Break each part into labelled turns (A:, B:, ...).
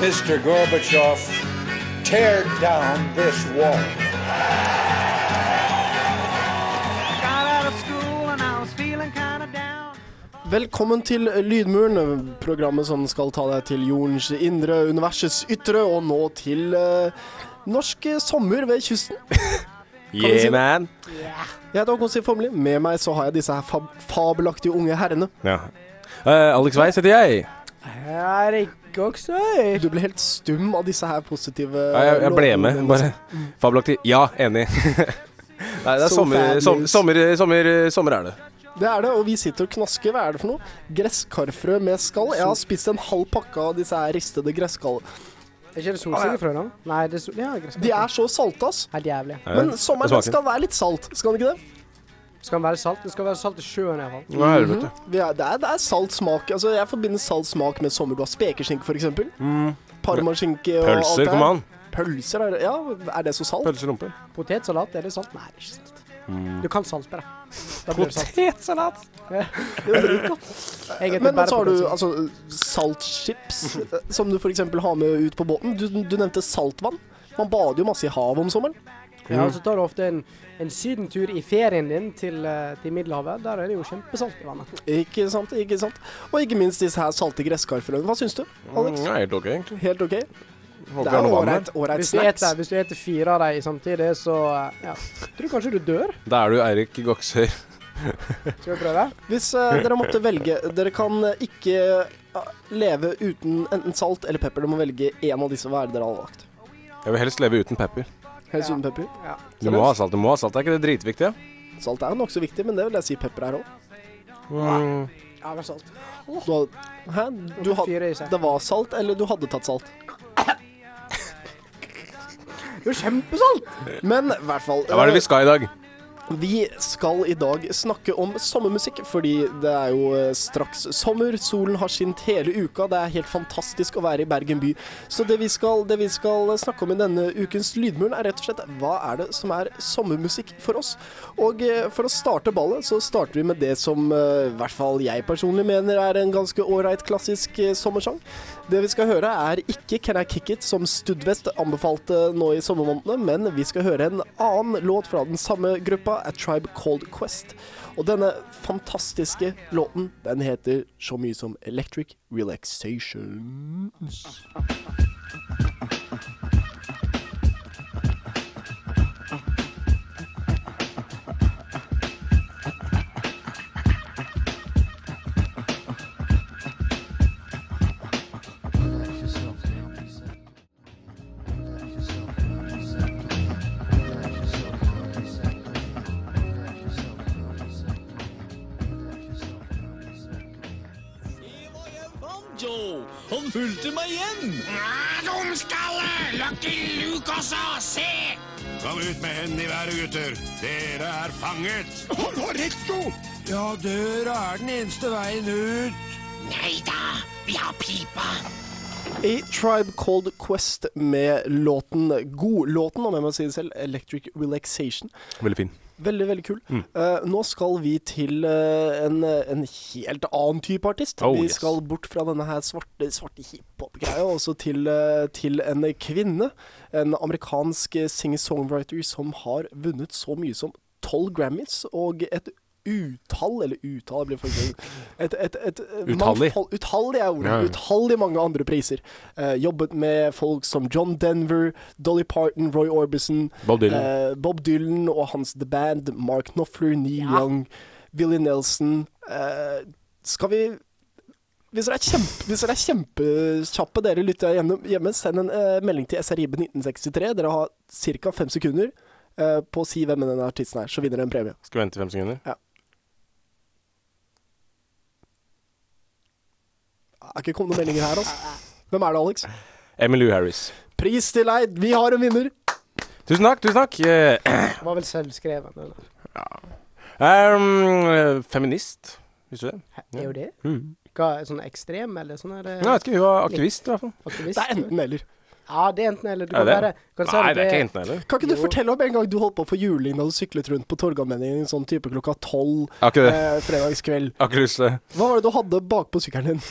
A: Mr. Gorbachev, tear down this wall.
B: Got out of school and I was feeling kind of down.
C: Velkommen til Lydmuren, programmet som skal ta deg til jordens indre, universets ytre, og nå til eh, norsk sommer ved kysten. vi si-
D: Yeah, man.
C: Jeg heter Håkon Stiv Formli. Med meg så har jeg disse her fab fabelaktige unge herrene.
D: Ja. Eh, Alex Weiss heter jeg.
E: Her ikke også, jeg.
C: Du ble helt stum av disse her positive
D: Ja, jeg, jeg ble med,
C: lovordene.
D: bare. Fabelaktig. Ja, enig. Nei, det
C: liksom.
D: er
C: Mm. So
D: sommer,
C: fabulous.
D: som, sommer, sommer, sommer er det.
C: Det er det, og vi sitter og knasker. Hva er det for noe? Gresskarfrø med skall. Jeg har spist en halv pakke av disse her ristede gresskallene.
E: Er ikke det solsikkefrø nå? Nei, det er sol... Ja, gress.
C: De er så salte, ass.
E: Helt jævlig.
D: Ja,
C: Men
D: det
C: sommeren den
D: smaker.
C: skal være litt salt, skal den ikke det?
E: Skal den være salt? Det skal være salt i sjøen i hvert fall.
D: Hva er det, vet du?
C: Vi er, det, er, det er salt smak. Altså, jeg forbinder salt smak med sommerblad. Spekeskinke, for eksempel. Parmaskinke og alt
D: Mm. Pølser,
C: det
D: kom
C: her.
D: an.
C: Pølser, er det, ja. Er det så salt?
D: Pølserumpe.
E: Potetsalat, er det salt? Nei, det er ikke salt.
D: Mm.
E: Du kan salte det. Da blir det salt.
D: Potetsalat.
E: Det er jo dritt, da. Jeg
C: Men
E: heter bare
C: så har du
E: potetsalat.
C: altså, saltchips, eh, som du for eksempel har med ut på båten. Du, du nevnte saltvann. Man bader jo masse i havet om sommeren.
E: Ja,
D: Mm.
E: og så tar du ofte en, en sydentur i ferien din til, eh, til Middelhavet. Der er det jo kjempesalt i vannet.
C: Ikke sant, ikke sant. Og ikke minst disse her salte gresskarfrøene. Hva syns du, Mm, Alex?
D: Ja, Mm, helt ok, egentlig.
C: Helt OK?
D: Håper
C: Det
D: det
C: er
D: er noe vann
C: ålreit
D: der.
C: ålreit
E: Hvis du
C: snacks.
E: eter, hvis du eter fire av dem samtidig, så eh, ja. Tror du kanskje du dør.
D: Da er du Eirik Goksør.
E: Skal vi prøve?
C: Hvis
D: Mm.
C: eh, dere måtte velge Dere kan eh, ikke eh, leve uten enten salt eller pepper. Dere må velge én av disse. Hva er det dere har valgt?
D: Jeg vil helst leve uten pepper.
C: Helst
E: Ja.
C: uten pepper.
E: Ja.
D: Du må ha salt, du må ha salt. Er ikke det dritviktig? Ja?
C: Salt er nokså viktig, men det vil jeg si pepper er òg.
D: Mm.
E: Ja, det er salt.
C: Du had- Hæ? Du had,
E: Fire i seg.
C: det var salt, eller du hadde tatt salt?
E: Det er jo kjempesalt!
C: Men i hvert fall.
D: Ja, hva er det vi skal i dag?
C: Vi skal i dag snakke om sommermusikk, fordi det er jo eh, straks sommer. Solen har skint hele uka. Det er helt fantastisk å være i Bergen by. Så det vi skal, det vi skal snakke om i denne ukens Lydmuren, er rett og slett hva er det som er sommermusikk for oss? Og eh, for å starte ballet, så starter vi med det som eh, i hvert fall jeg personlig mener er en ganske ålreit klassisk eh, sommersang. Det vi skal høre, er ikke Can I Kick It, som Studvest anbefalte nå i sommermånedene, men vi skal høre en annen låt fra den samme gruppa, A Tribe Called Quest. Og denne fantastiske låten, den heter så mye som Electric Relaxation.
F: Han fulgte meg hjem!
G: Dumskalle! Lucky Luke også! Se! Kom ut med hendene i været, gutter. Dere er fanget. Hold på resto! Ja, døra er den eneste veien ut. Nei da, vi har pipa.
C: A Tribe Called Quest med låten, godlåten, om jeg må si det selv, Electric Relaxation.
D: Veldig fin.
C: Veldig, veldig kul.
D: Mm.
C: Eh, nå skal vi til eh, en, en helt annen type artist.
D: Oh,
C: vi
D: yes.
C: skal bort fra denne her svarte, svarte hiphop-greia, og så til, eh, til en kvinne. En amerikansk eh, singer-songwriter som har vunnet så mye som tolv Grammys og et utall, eller utall blir for eksempel, et, et, et, et
D: Utallig.
C: mangfold- Utallig er ordet.
D: Ja, ja.
C: Utallig mange andre priser. Eh, jobbet med folk som John Denver, Dolly Parton, Roy Orbison.
D: Bob Dylan.
C: Eh, Bob Dylan og hans The Band, Mark Knopfler, Neil Young, Willie Nelson eh, Skal vi hvis dere er, kjempe, hvis dere er kjempekjappe, dere lytter hjemme, hjemme send en eh, melding til SRIB 1963. Dere har ca. fem sekunder eh, på å si hvem denne artisten er, så vinner dere en premie.
D: Skal vi vente fem sekunder?
C: Er ikke kommet noen meldinger her, altså. Hvem er det, Alex?
D: Emmylou Harris.
C: Pris til deg! Vi har en vinner!
D: Tusen takk, tusen takk. Eh,
E: Var vel selvskreven. Eller?
D: ehm, feminist, visste du det?
E: Er jo det?
D: Mm.
E: Hva, sånn ekstrem, eller sånn? Er det
D: Nei, jeg vet ikke, hun var aktivist i hvert fall.
E: aktivist?
C: Det er enten-eller.
E: Ja, det er enten-eller. Du
D: Er
E: kan
D: det?
E: være kan si
D: Nei,
E: at
D: det er ikke enten heller.
C: Kan ikke du
E: Jo.
C: fortelle om en gang du holdt på for juling da du syklet rundt på Torgallmenningen sånn type klokka tolv
D: Har ikke det.
C: eh, fredagskveld?
D: Har ikke lyst til det.
C: Hva var det du hadde bakpå sykkelen din?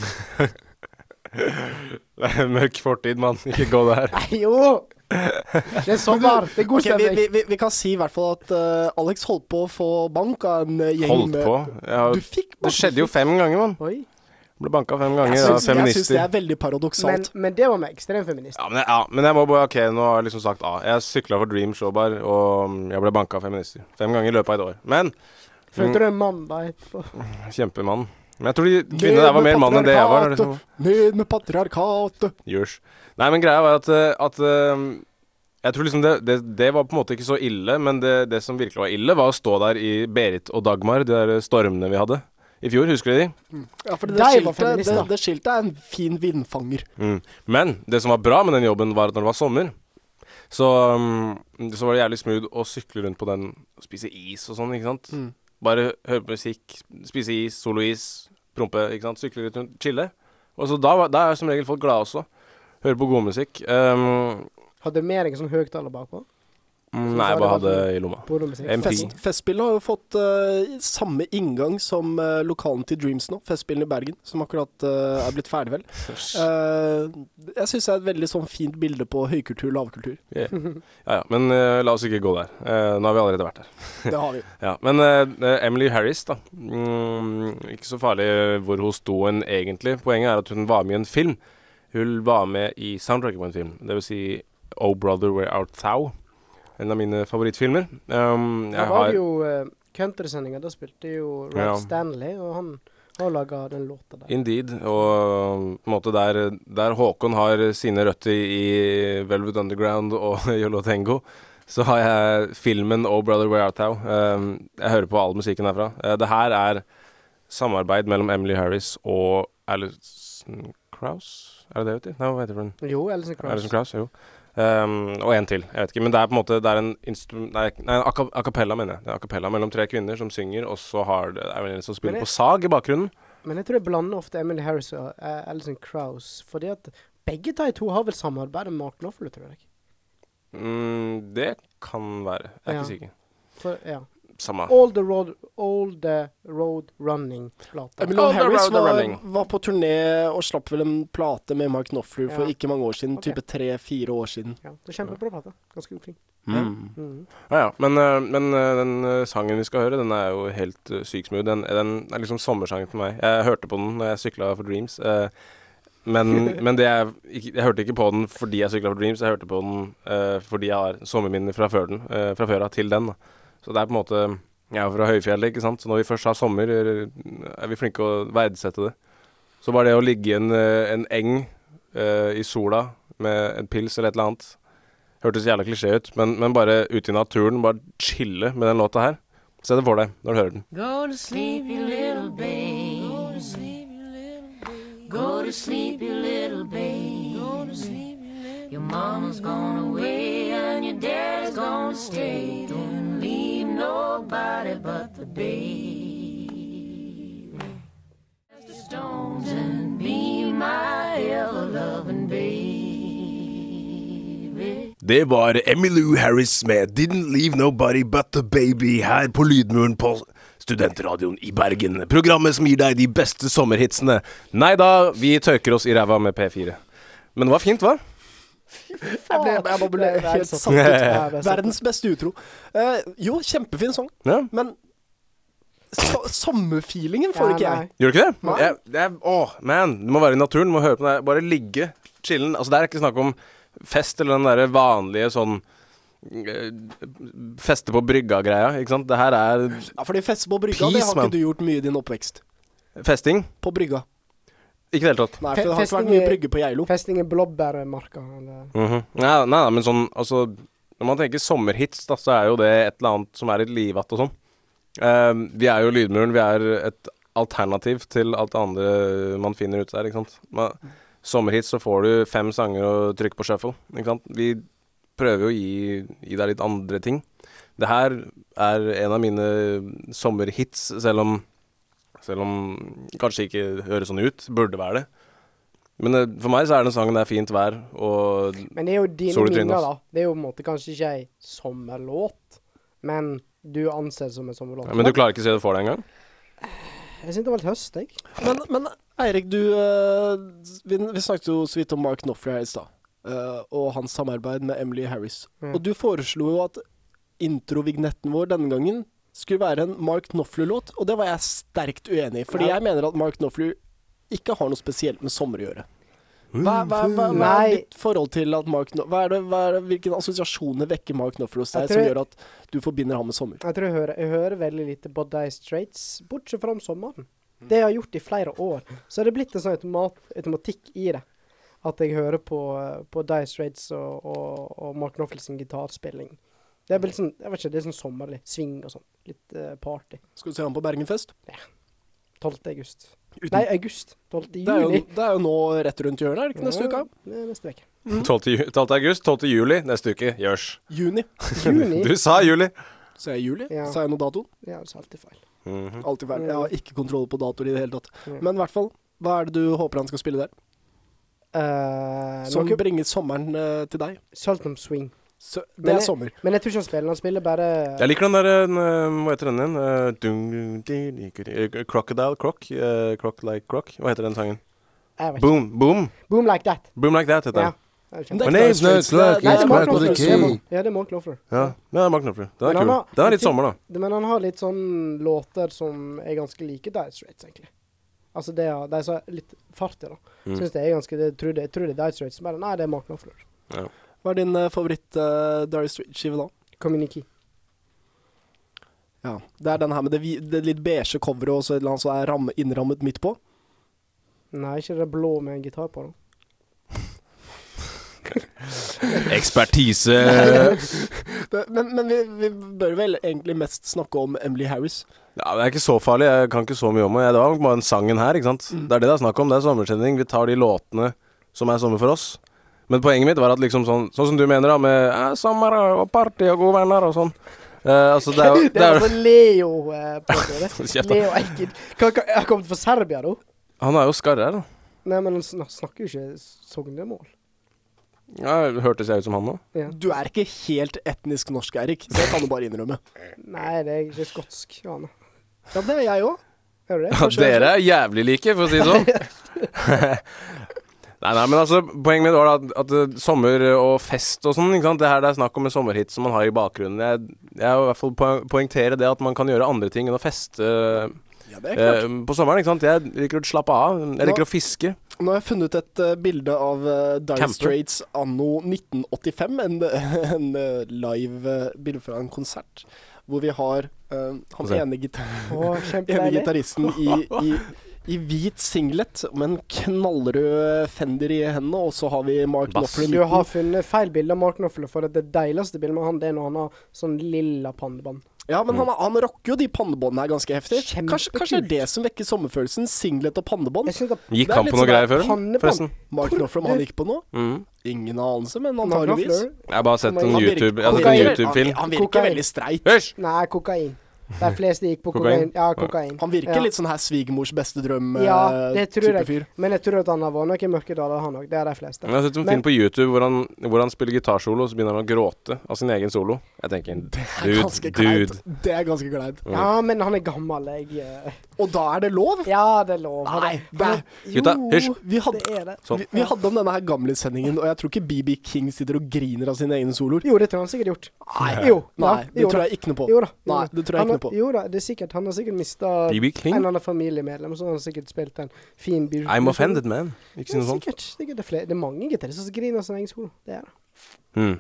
D: Det er mørk fortid, mann. Ikke gå der.
E: Nei, jo! Det er sommer. Det er god
C: Ok, vi,
E: stemning.
C: vi, vi, vi kan si i hvert fall at eh, Alex holdt på å få bank av en eh, gjeng
D: Holdt
C: med-
D: på. Ja,
C: Du fikk
D: det skjedde jo fem ganger, mann.
E: Oi.
D: Ble banka fem ganger
C: Jeg
D: av
C: syns- Jeg syns det
D: feminister.
C: er veldig
E: Men,
C: paradoksalt.
E: men det var med ekstremfeminist.
D: Ja men, jeg, ja, men jeg må bare OK, nå har jeg liksom sagt A. Jeg sykla for Dream Showbar, og mm, jeg ble banka av feminister. Fem ganger i løpet av et år. Men Mm.
E: Følte du en mann da etterpå?
D: kjempemann. Men jeg tror de kvinnene der var mer mann enn det jeg var. da, Liksom.
C: Ned med patriarkatet!
D: Jørs. Nei, men greia var at, eh, at eh, Jeg tror liksom det, det, det var på en måte ikke så ille, men det, det som virkelig var ille, var å stå der i Berit og Dagmar, de der eh, stormene vi hadde i fjor. Husker du de?
C: Ja, for det,
E: Deg var
C: skiltet,
E: feminist,
C: det,
E: da.
C: det skiltet er en fin vindfanger.
D: Mm. Men det som var bra med den jobben, var at når det var sommer, så, um, så var det jævlig smooth å sykle rundt på den og spise is og sånn, ikke sant.
C: Mm.
D: Bare høre på musikk, spise is, solois, prompe, ikke sant. Sykle litt rundt, chille. Og så da, var- da er som regel folk glade også. Høre på god musikk. Um,
E: Hadde mer en sånn høyttaler bakpå?
D: Mm, nei, jeg bare hadde i lomma.
E: Pornomusikk.
D: MP.
E: Fest.
C: Fest, festspillene har jo fått eh, samme inngang som eh, lokalen til Dreams nå, Festspillene i Bergen, som akkurat eh, er blitt ferdig, vel. Eh, jeg syns det er et veldig sånn fint bilde på høykultur, lavkultur.
D: Ja, ja, men eh, la oss ikke gå der. Eh, nå har vi allerede vært der.
C: Det har vi.
D: Ja, men eh, Emily Harris, da. Mm, ikke så farlig hvor hun sto hen egentlig. Poenget er at hun var med i en film. Hun var med i soundtracket på en film. Det vil si Oh Brother Where Art Thou. En av mine favorittfilmer. Um,
E: Da
D: jeg
E: var det
D: har
E: jo uh, countrysendinga. Da spilte jo Rod
D: Ja.
E: Stanley, og han har laga den låta der.
D: Indeed. Og på en måte der, der Håkon har sine røtter i Velvet Underground og Yolo Tengo, så har jeg filmen Oh Brother Where Art Thou. Um, jeg hører på all musikken herfra. Uh, det her er samarbeid mellom Emily Harris og Alison Krauss? Er det det hun heter? Nei, hva heter hun?
E: Jo, Alison Cross.
D: Alison Krauss, jo. Um, og en til, jeg vet ikke. Men det er på en måte Det er en instru... Nei, nei a ca- a cappella, mener jeg. Det er a cappella mellom tre kvinner som synger, og så har det, er det en som
E: Men
D: spiller
E: det-
D: på sag i bakgrunnen.
E: Men jeg tror jeg blander ofte Emily Harris og uh, Alison Cross, fordi at begge de to har vel samarbeid med Mark Knopfler, tror jeg.
D: Mm, det kan være. Jeg er
E: Ja.
D: ikke sikker.
E: For, ja.
D: Samme.
E: All the road, all the road running-plata.
C: Emily
D: Oh, the
C: Harris
D: road, the
C: var,
D: running.
C: var på turné og slapp vel en plate med Mark Knopfler for
E: Ja.
C: ikke mange år siden.
E: Ok.
C: Type tre-fire år siden.
E: Ja, det er kjempebra plate. Ganske flink.
D: Mm.
E: Mhm.
D: Ja, ja. Men, eh, men eh, den eh, sangen vi skal høre, den er jo helt uh, syk smooth. Den, den er liksom sommersangen for meg. Jeg hørte på den da jeg sykla for Dreams. eh, men men det er, ikke, jeg hørte ikke på den fordi jeg sykla for Dreams, jeg hørte på den eh, fordi jeg har sommerminner fra før den, eh, fra før av til den. Da. Så det er på en måte Jeg er jo fra høyfjellet, ikke sant. Så når vi først har sommer, er er vi flinke å verdsette det. Så bare det å ligge i en, eh, en eng eh, i sola med en pils eller et eller annet Hørtes jævla klisjé ut, men, men bare ute i naturen, bare chille med den låta her. Se det for deg når du hører den. Det var Emmylou Harris med 'Didn't Leave Nobody But The Baby' her på Lydmuren på Studentradioen i Bergen. Programmet som gir deg de beste sommerhitsene. Nei da, vi tørker oss i ræva med P4. Men det var fint, hva?
C: Jeg ble, jeg bare ble
E: Det er
C: helt
E: satt
C: satt
E: ut.
C: ut.
E: Ja, det er satt ut.
C: Verdens beste utro. Eh, jo, kjempefin sang,
D: Ja.
C: men so sommerfeelingen får
E: Ja,
C: ikke jeg.
E: nei.
D: Gjorde du ikke det?
C: Nei.
D: Jeg, det er, åh, man. Du må være i naturen, du må høre på det. her. Bare ligge, chillen. Altså, det er ikke snakk om fest eller den derre vanlige sånn eh, Feste på brygga-greia, ikke sant. Det her er
C: Ja, fordi feste på brygga, det
D: Peace,
C: har
D: man.
C: ikke du gjort mye i din oppvekst.
D: festing.
C: På brygga.
D: Ikke i det hele tatt.
C: Nei,
E: Fe-
C: for det har ikke
E: festing
C: vært mye
E: i-
C: brygge på Geilo.
E: Festing i blåbærmarka. eller-
D: Mhm. nei, nei, nei, men sånn altså Når man tenker sommerhits, da, så er jo det et eller annet som er litt livatt og sånn. Eh, vi er jo Lydmuren. Vi er et alternativ til alt det andre man finner ute der, ikke sant. Men, sommerhits så får du fem sanger og trykk på shuffle, ikke sant. Vi prøver jo å gi, gi deg litt andre ting. Det her er en av mine sommerhits, selv om Selv om kanskje ikke høres sånn ut. Burde være det. Men eh, for meg så er den sangen det er fint vær, og
E: Men det er jo dine
D: Sol i trynet,
E: minner,
D: ass.
E: da. Det er jo på en måte kanskje ikke ei sommerlåt, men du anser det som en sommerlåt.
D: Ja, men du klarer ikke å se det for deg engang?
E: Jeg syns det var litt høst, jeg.
C: Men, men Eirik, du eh, vi, vi snakket jo så vidt om Mark Knopfler her i stad. eh, og hans samarbeid med Emily Harris.
E: Mm.
C: Og du foreslo jo at introvignetten vår denne gangen skulle være en Mark Knopfler-låt, og det var jeg sterkt uenig i. Fordi jeg mener at Mark Knopfler ikke har noe spesielt med sommer å gjøre. Hva, hva, hva, hva er
E: Nei.
C: ditt forhold til at Mark Knopfler hva er det, hva er det, Hvilke assosiasjoner vekker Mark Knopfler hos deg
E: Jeg
C: som
E: tror-
C: gjør at du forbinder ham med sommer?
E: Jeg tror jeg hører, jeg hører veldig lite på Dire Straits, bortsett fra om sommeren.
C: Mm.
E: Det jeg har gjort i flere år. Så er det blitt en sånn automat, automatikk i det. At jeg hører på, på Dire Straits og, og, og Mark Knopfles gitarspilling. Det er
C: Mm.
E: vel sånn, jeg vet ikke, det er sånn sommerlig. Sving og sånn. Litt eh, party.
C: Skal du se ham på Bergenfest?
E: 12. august. Nei, august. 12.
C: Det er, jo,
E: juli.
C: det er jo nå rett rundt hjørnet, er det ikke neste uka?
E: Ja, neste uke.
D: 12. ju- 12. august, 12. juli neste uke. Gjørs.
C: Juni.
E: Juni.
D: Du sa juli!
C: Så er jeg juli,
E: Ja.
C: så er jeg nå datoen.
E: Ja, det er alltid feil.
D: Mhm.
C: Alltid feil. Jeg har ikke kontroll på datoer i det hele tatt.
E: Mm.
C: Men i hvert fall, hva er det du håper han skal spille der?
E: Eh,
C: Som
E: noe-
C: bringer sommeren eh, til deg.
E: Saltnum Swing.
C: Så, det
E: Men
C: er
E: jeg-
C: sommer.
E: Men jeg tror ikke han spiller. Han spiller bare
D: Jeg liker den der den, eh, Hva heter den igjen? Eh, dun- dun- di- di- di- di- Crocodile Croc. eh, croc like croc. Hva heter den sangen?
E: jeg vet ikke.
D: Boom, boom.
E: Boom like that.
D: Boom like that heter
E: Ja.
D: den.
E: Det er
C: Men
E: kjempe-
C: det er
D: My
C: ikke Dire
D: name's not
C: Straits, det
D: Clark,
C: er-
E: Nei,
D: it's
E: det er Mark
D: Clark
E: Knopfler.
D: with
E: Det er
D: a
E: Mark-
D: K.
E: Ja, det er Mark Knopfler.
D: Ja, det er Mark Knopfler. Den er
E: Men han
D: kul.
E: har-
D: Den er litt sommer, da.
E: Det- Men han har litt sånn låter som er ganske like Dire Straits, egentlig. Altså det er, de som er litt fart i, da.
D: Mm.
E: Synes det er ganske det, tror det, jeg tror det er Dire Straits, men nei, det er Mark Knopfler.
C: Hva er din eh, favoritt uh, Dary Street-skive da?
E: Communique.
C: Ja. Det er den her med det, vi- det litt beige coveret og så et eller annet som er ramme, innrammet midt på.
E: Nei, ikke det blå med en gitar på, da.
D: Ekspertise.
C: Det- Men, men vi, vi bør vel egentlig mest snakke om Emily Harris.
D: Ja, men Det er ikke så farlig. Jeg kan ikke så mye om det. Det var bare den sangen her, ikke sant. Det er det det er snakk om. Det er sommersending. Vi tar de låtene som er sommer for oss. Men poenget mitt var at liksom sånn Sånn som du mener, da, med eh, sommer og party og gode venner og sånn. Eh, altså, det er jo
E: Det
D: det
E: er
D: er, jo-
E: altså Leo eh, på det.
D: Kjeft, da.
E: Leo Eikid. Hva- hva- Han kom fra Serbia, da?
D: Han er jo skarre her, da.
E: Nei, men han sn- snakker jo ikke sognemål.
D: Ja, hørtes jeg ut som han nå?
E: Ja.
C: Du er ikke helt etnisk norsk, Eirik. Det kan du bare innrømme.
E: Nei, det er ikke skotsk. Ja, nei.
C: Ja, det er jeg òg.
E: er du det?
D: Ja, dere er jævlig like, for å si det sånn. Nei, nei, men altså, Poenget mitt var at, at eh, sommer og fest og sånn ikke sant? Det her det er snakk om en sommerhit som man har i bakgrunnen. Jeg, jeg vil i hvert fall poeng- poengtere det at man kan gjøre andre ting enn å feste
C: Ja, det er klart.
D: eh, på sommeren. ikke sant? Jeg liker å slappe av. Jeg
C: Ja.
D: liker å fiske.
C: Nå har jeg funnet et eh, bilde av uh, Dire
D: Camper.
C: Straits anno 1985. En, en eh, live eh, bilde fra en konsert hvor vi har eh, han
D: se.
C: ene, gitar
E: Å,
C: ene
E: Kjempedeilig.
C: gitaristen i, i, i hvit singlet med en knallrød Fender i hendene, og så har vi Mark
D: Bass.
C: Knopfler i
E: Du har
C: midten.
E: funnet feil bilde av Mark Knopfler, for at det deiligste bildet med han det er når han har sånn lilla pannebånd.
C: Ja, men han, han rocker jo de pannebåndene her ganske heftig.
E: Kjempekult.
C: Kanskje, kanskje det er det som vekker sommerfølelsen? Singlet og pannebånd?
E: Jeg synes at
D: Gikk
C: Det er
D: han
C: litt
D: på noe
C: som
D: greier før?
E: pannebånd.
D: Forresten.
C: Mark Knopfler, om han gikk på noe?
D: Mm.
C: Ingen anelse, men
E: Mark
C: antageligvis.
E: Knopfler
D: Jeg har bare sett en
C: Han virker-
D: YouTube- jeg
C: han
D: har sett en
C: virker-
D: YouTube-film.
C: han- Han virker
E: Kokain.
C: veldig streit.
D: Hysj!
E: Nei, kokain. De fleste gikk på kokain.
D: Kokain?
E: Ja, kokain.
C: Han virker
E: ja.
C: litt sånn her svigermors beste
E: Ja, det tror
C: drøm-type
E: jeg.
C: fyr.
E: Men jeg tror at han har vært noen mørke daler, han òg. Det er de fleste.
D: Jeg har sett en film
E: Men-
D: på YouTube hvor han, hvor han spiller gitarsolo, og så begynner han å gråte av sin egen solo. Jeg tenker
C: Ganske kleint.
D: Dude, dude.
C: Det er ganske kleint.
E: Ja, men han er gammel, jeg. eh.
C: Og da er det lov?
E: Ja, det er lov. Han
C: Nei,
E: er-
C: det er,
D: Gutta, hysj!
C: vi, hadde,
E: Det er det.
D: Sånn.
C: vi, vi hadde om denne her gamlissendingen, og jeg tror ikke BB King sitter og griner av sine egne soloer.
E: Jo, det tror jeg han sikkert gjort.
C: Nei.
E: Jo.
C: Nei,
E: ja,
C: det
E: jo
C: tror
E: da.
C: jeg ikke noe på.
E: Jo da. jo
C: Nei,
E: da.
C: det tror jeg
E: Han
C: ikke noe
E: har-
C: på.
E: Jo da, det er sikkert. Han har sikkert mista en
D: BB King?
E: eller annen familiemedlem, og så har han sikkert spilt en fin bil.
D: I'm offended, man. Ikke si
E: Ja,
D: noe sånt.
E: sikkert. sikkert det, er flere. det er mange gitarister som griner av sin egen solo. Det er det.
D: Hmm.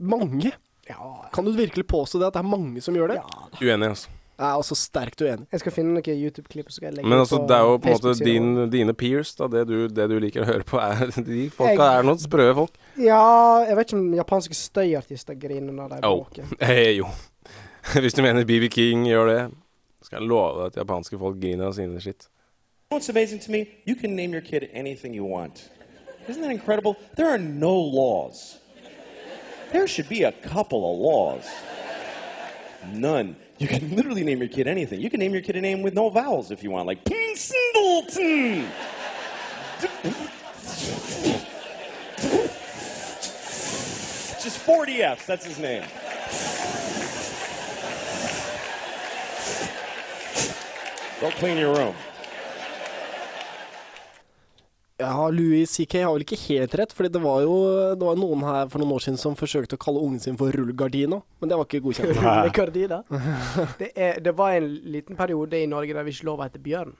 C: Mange?
E: Ja.
C: Kan du virkelig påstå det at det er mange som gjør det?
D: Uenig, altså.
C: Jeg er også sterkt uenig.
E: Jeg skal finne noen YouTube-klipp. og så skal jeg legge
D: Men altså, det er jo på en måte
E: Facebook-siden vår.
D: din, dine peers, da. Det du, det du liker å høre på, er de folka er noen sprø folk.
E: Ja, jeg vet ikke om japanske støyartister griner når de
D: Oh.
E: bråker.
D: Eh, jo. Hvis du mener BB King gjør det, skal jeg love deg at japanske folk griner av sine skitt.
H: You know what's amazing to me? You can name your kid anything you want. Isn't that incredible? There are no laws. There should be a couple of laws. None. You can literally name your kid anything. You can name your kid a name with no vowels if you want, like Pinsendleton. Just 40 F's, that's his name. Go clean your room.
C: Ja, Louis CK har vel ikke helt rett, for det var jo det var noen her for noen år siden som forsøkte å kalle ungen sin for rullegardina, men det var ikke godkjent.
E: Med gardiner. Det, er, det var en liten periode i Norge der vi ikke lov å hete bjørn.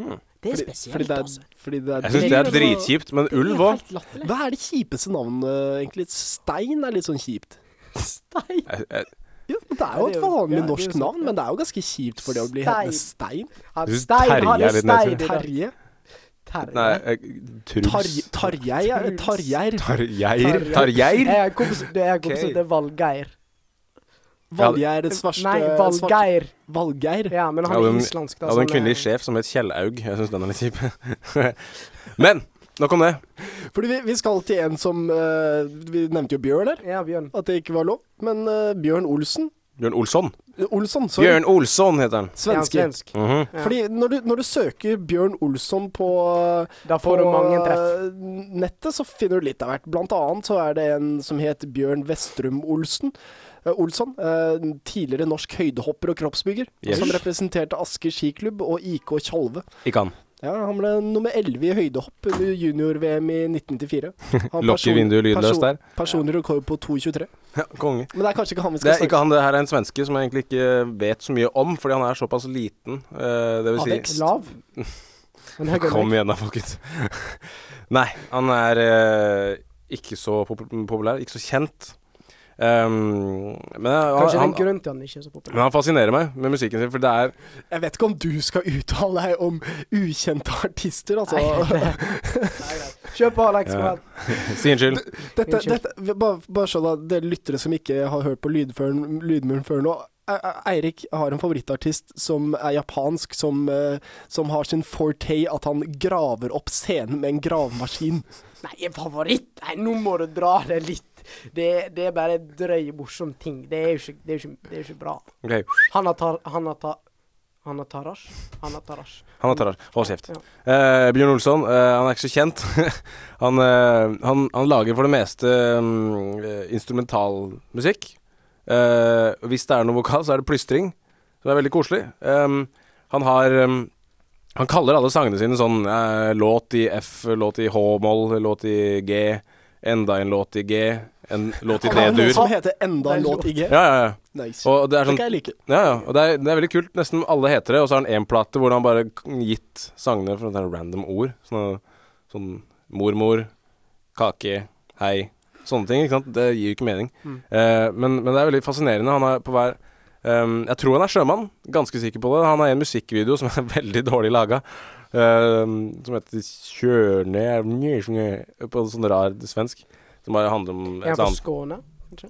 D: Hmm.
E: Det er
C: Fordi,
E: spesielt,
C: fordi det er,
E: altså.
C: fordi det er
D: Jeg syns det er dritkjipt, men ulv òg.
E: Helt latterlig.
C: Hva er det kjipeste navnet, eh, egentlig? Stein er litt sånn kjipt.
E: Stein.
D: Jeg
C: Ja, men det er jo
E: Ja, det
C: et
E: er jo- ja,
C: vanlig
E: det er jo
C: norsk
E: sant,
C: navn,
E: ja.
C: men det er jo ganske kjipt for det å bli hetende Stein.
E: Han
D: Du synes
E: Stein, han
D: Terje
E: er
D: er litt nedtur?
E: Stein.
C: Terje.
E: Terje.
D: Nei, jeg,
C: Tarj-
D: Truls
C: Tarjei er Tarjeir.
D: Tarjeir? Tarjeir?
E: Jeg har en kompis det er en kompis som
D: Ok.
E: heter Valgeir.
C: Valgeir svarte
E: Nei,
C: svarte-
E: Valgeir.
C: Valgeir.
E: Ja, men
D: Jeg
E: han
D: hadde
E: er
D: en-
E: islandsk. da,
D: Jeg hadde en
E: så han er-
D: kvinnelig sjef som het Kjellaug. Jeg syns den er litt kjip. Men nok om det.
C: Fordi vi, vi skal til en som eh, Vi nevnte jo Bjørn her,
E: Ja, Bjørn.
C: at det ikke var lov. Men eh, Bjørn Olsen
D: Bjørn Olsson.
C: Eh, Olsson, sorry.
D: Bjørn Olsson heter han.
E: Ja,
C: Svenske.
E: svensk.
D: Mhm.
C: Fordi når du, når du søker Bjørn Olsson på,
E: Da får
C: på eh,
E: du mange treff.
C: nettet, så finner du litt av hvert. Blant annet så er det en som het Bjørn Vestrum Olsen. eh, Olsson, eh, tidligere norsk høydehopper og kroppsbygger,
D: Yes.
C: som representerte Asker skiklubb og IK Tjalve.
D: Ikke han.
C: Ja, han ble nummer 11 i høydehopp under junior-VM i 1994. Han
D: Lokk i
C: person-
D: vinduet lydløst
C: person-
D: der.
C: Personlig rekord på 2,23.
D: Ja, Konge.
C: Men det er kanskje ikke han vi
D: Det
C: skal
D: er ikke
C: snakke om.
D: han, det her er en svenske som jeg egentlig ikke vet så mye om, fordi han er såpass liten. Eh, Det vil si
C: Avvekst.
E: Lav. Men høy og
D: Kom
E: mørk.
D: igjen da, folkens. Nei, han er eh, ikke så pop populær, ikke så kjent. Um, men han,
E: Kanskje det er en
D: han,
E: grunn til han ikke er så populær.
D: men han fascinerer meg med musikken sin, for det er
C: Jeg vet ikke om du skal uttale deg om ukjente artister, altså.
E: Kjør på, Alex. Kom
D: Ja.
E: igjen.
D: Si unnskyld.
C: Dette,
E: Unnskyld.
C: dette, vi- bare, bare sånn at dere lyttere som ikke har hørt på Lydmuren, lydmuren før nå. E- E- Eirik har en favorittartist som er japansk, som, eh, som har sin forte at han graver opp scenen med en gravemaskin.
E: Nei, en favoritt? Nei, nå må du dra det litt. Det, det er bare en drøy, morsom ting. Det er jo ikke, det er jo ikke, det er jo ikke bra.
D: Ok,
E: Han har tar... Han har tar... Han har tarasj. Han har tarasj.
D: Han er tarasj. Hold kjeft.
E: Ja.
D: Eh, Bjørn Olsson, eh, han er ikke så kjent. han, eh, han, han lager for det meste mm, eh, instrumentalmusikk. Eh, og hvis det er noe vokal, så er det plystring, som er veldig koselig. Em, han har em, Han kaller alle sangene sine sånn eh, låt i F, låt i H-moll, låt i G, enda en låt i G, en låt i
C: Han sånn. har noe
D: D-dur.
C: som heter 'Enda en
E: Det er
C: låt i G'.
D: Ja, ja, ja.
C: Nice.
D: Og det er
C: Det
D: sånn
C: kan jeg like.
D: ja, ja. Og det er, det er veldig kult. Nesten alle heter det. Og så har han én plate hvor han bare k- gitt sangene for sånne random ord. Sånne, sånn mormor, kake, hei. Sånne ting. ikke sant? Det gir jo ikke mening. Eh, men, men det er veldig fascinerende. Han er på hver ehm, Jeg tror han er sjømann. Ganske sikker på det. Han har en musikkvideo som er veldig dårlig laga. som heter 'Kjørne' På sånn rar svensk. Som bare handler om
E: Er
D: et
E: han fra
D: annet
E: Skåne?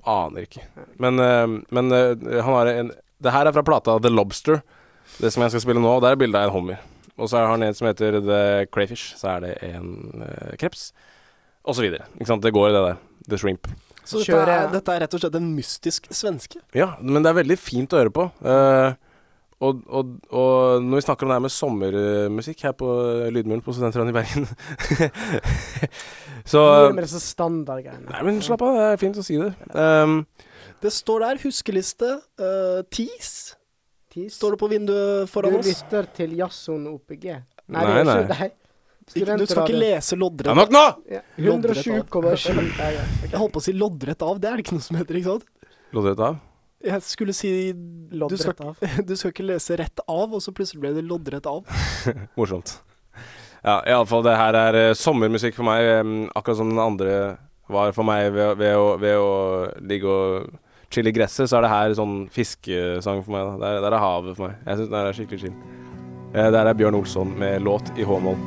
D: Aner ikke. Men, eh, men eh, han har en Det her er fra plata The Lobster, det som jeg skal spille nå. Og der er bilde av en hummer. Og så har han en som heter The Crayfish. Så er det en eh, kreps. Og så videre. Ikke sant. Det går i det der. The Shrimp.
C: Så dette
E: Kjører-
C: er, dette er rett og slett en mystisk svenske.
D: Ja, men det er veldig fint å høre på. Eh, og, og, og når vi snakker om det her med sommermusikk her på eh, Lydmuren på Studentradioen i Bergen Så
E: Nå er det med disse standardgreiene.
D: Nei, men slapp av. Det er fint å si det. Um,
C: Det står der, huskeliste, uh, TIS,
E: Tis.
C: står det på vinduet
E: Du
C: foran oss.
E: lytter til Jazzon OPG. Nei,
D: Nei,
E: det
D: nei.
E: er ikke deg.
C: Ikke, du skal ikke lese loddrett
D: ja, nok nå!
E: Ja, 107,7. Nei, ja.
C: Jeg holdt på å si loddrett av, det er det ikke noe som heter, ikke sant?
D: Loddrett av.
C: Jeg skulle si du skal,
E: Loddrett av.
C: du skal ikke lese rett av, og så plutselig ble det loddrett av.
D: Morsomt. Ja, iallfall det her er eh, sommermusikk for meg, em, akkurat som den andre var for meg ved, å- ved, å, ved å ligge og chille i gresset, så er det her sånn fiskesang for meg. Da. Der, der er havet for meg. Jeg syns den her er skikkelig chill. Eh, Der er Bjørn Olsson med låt i H-moll.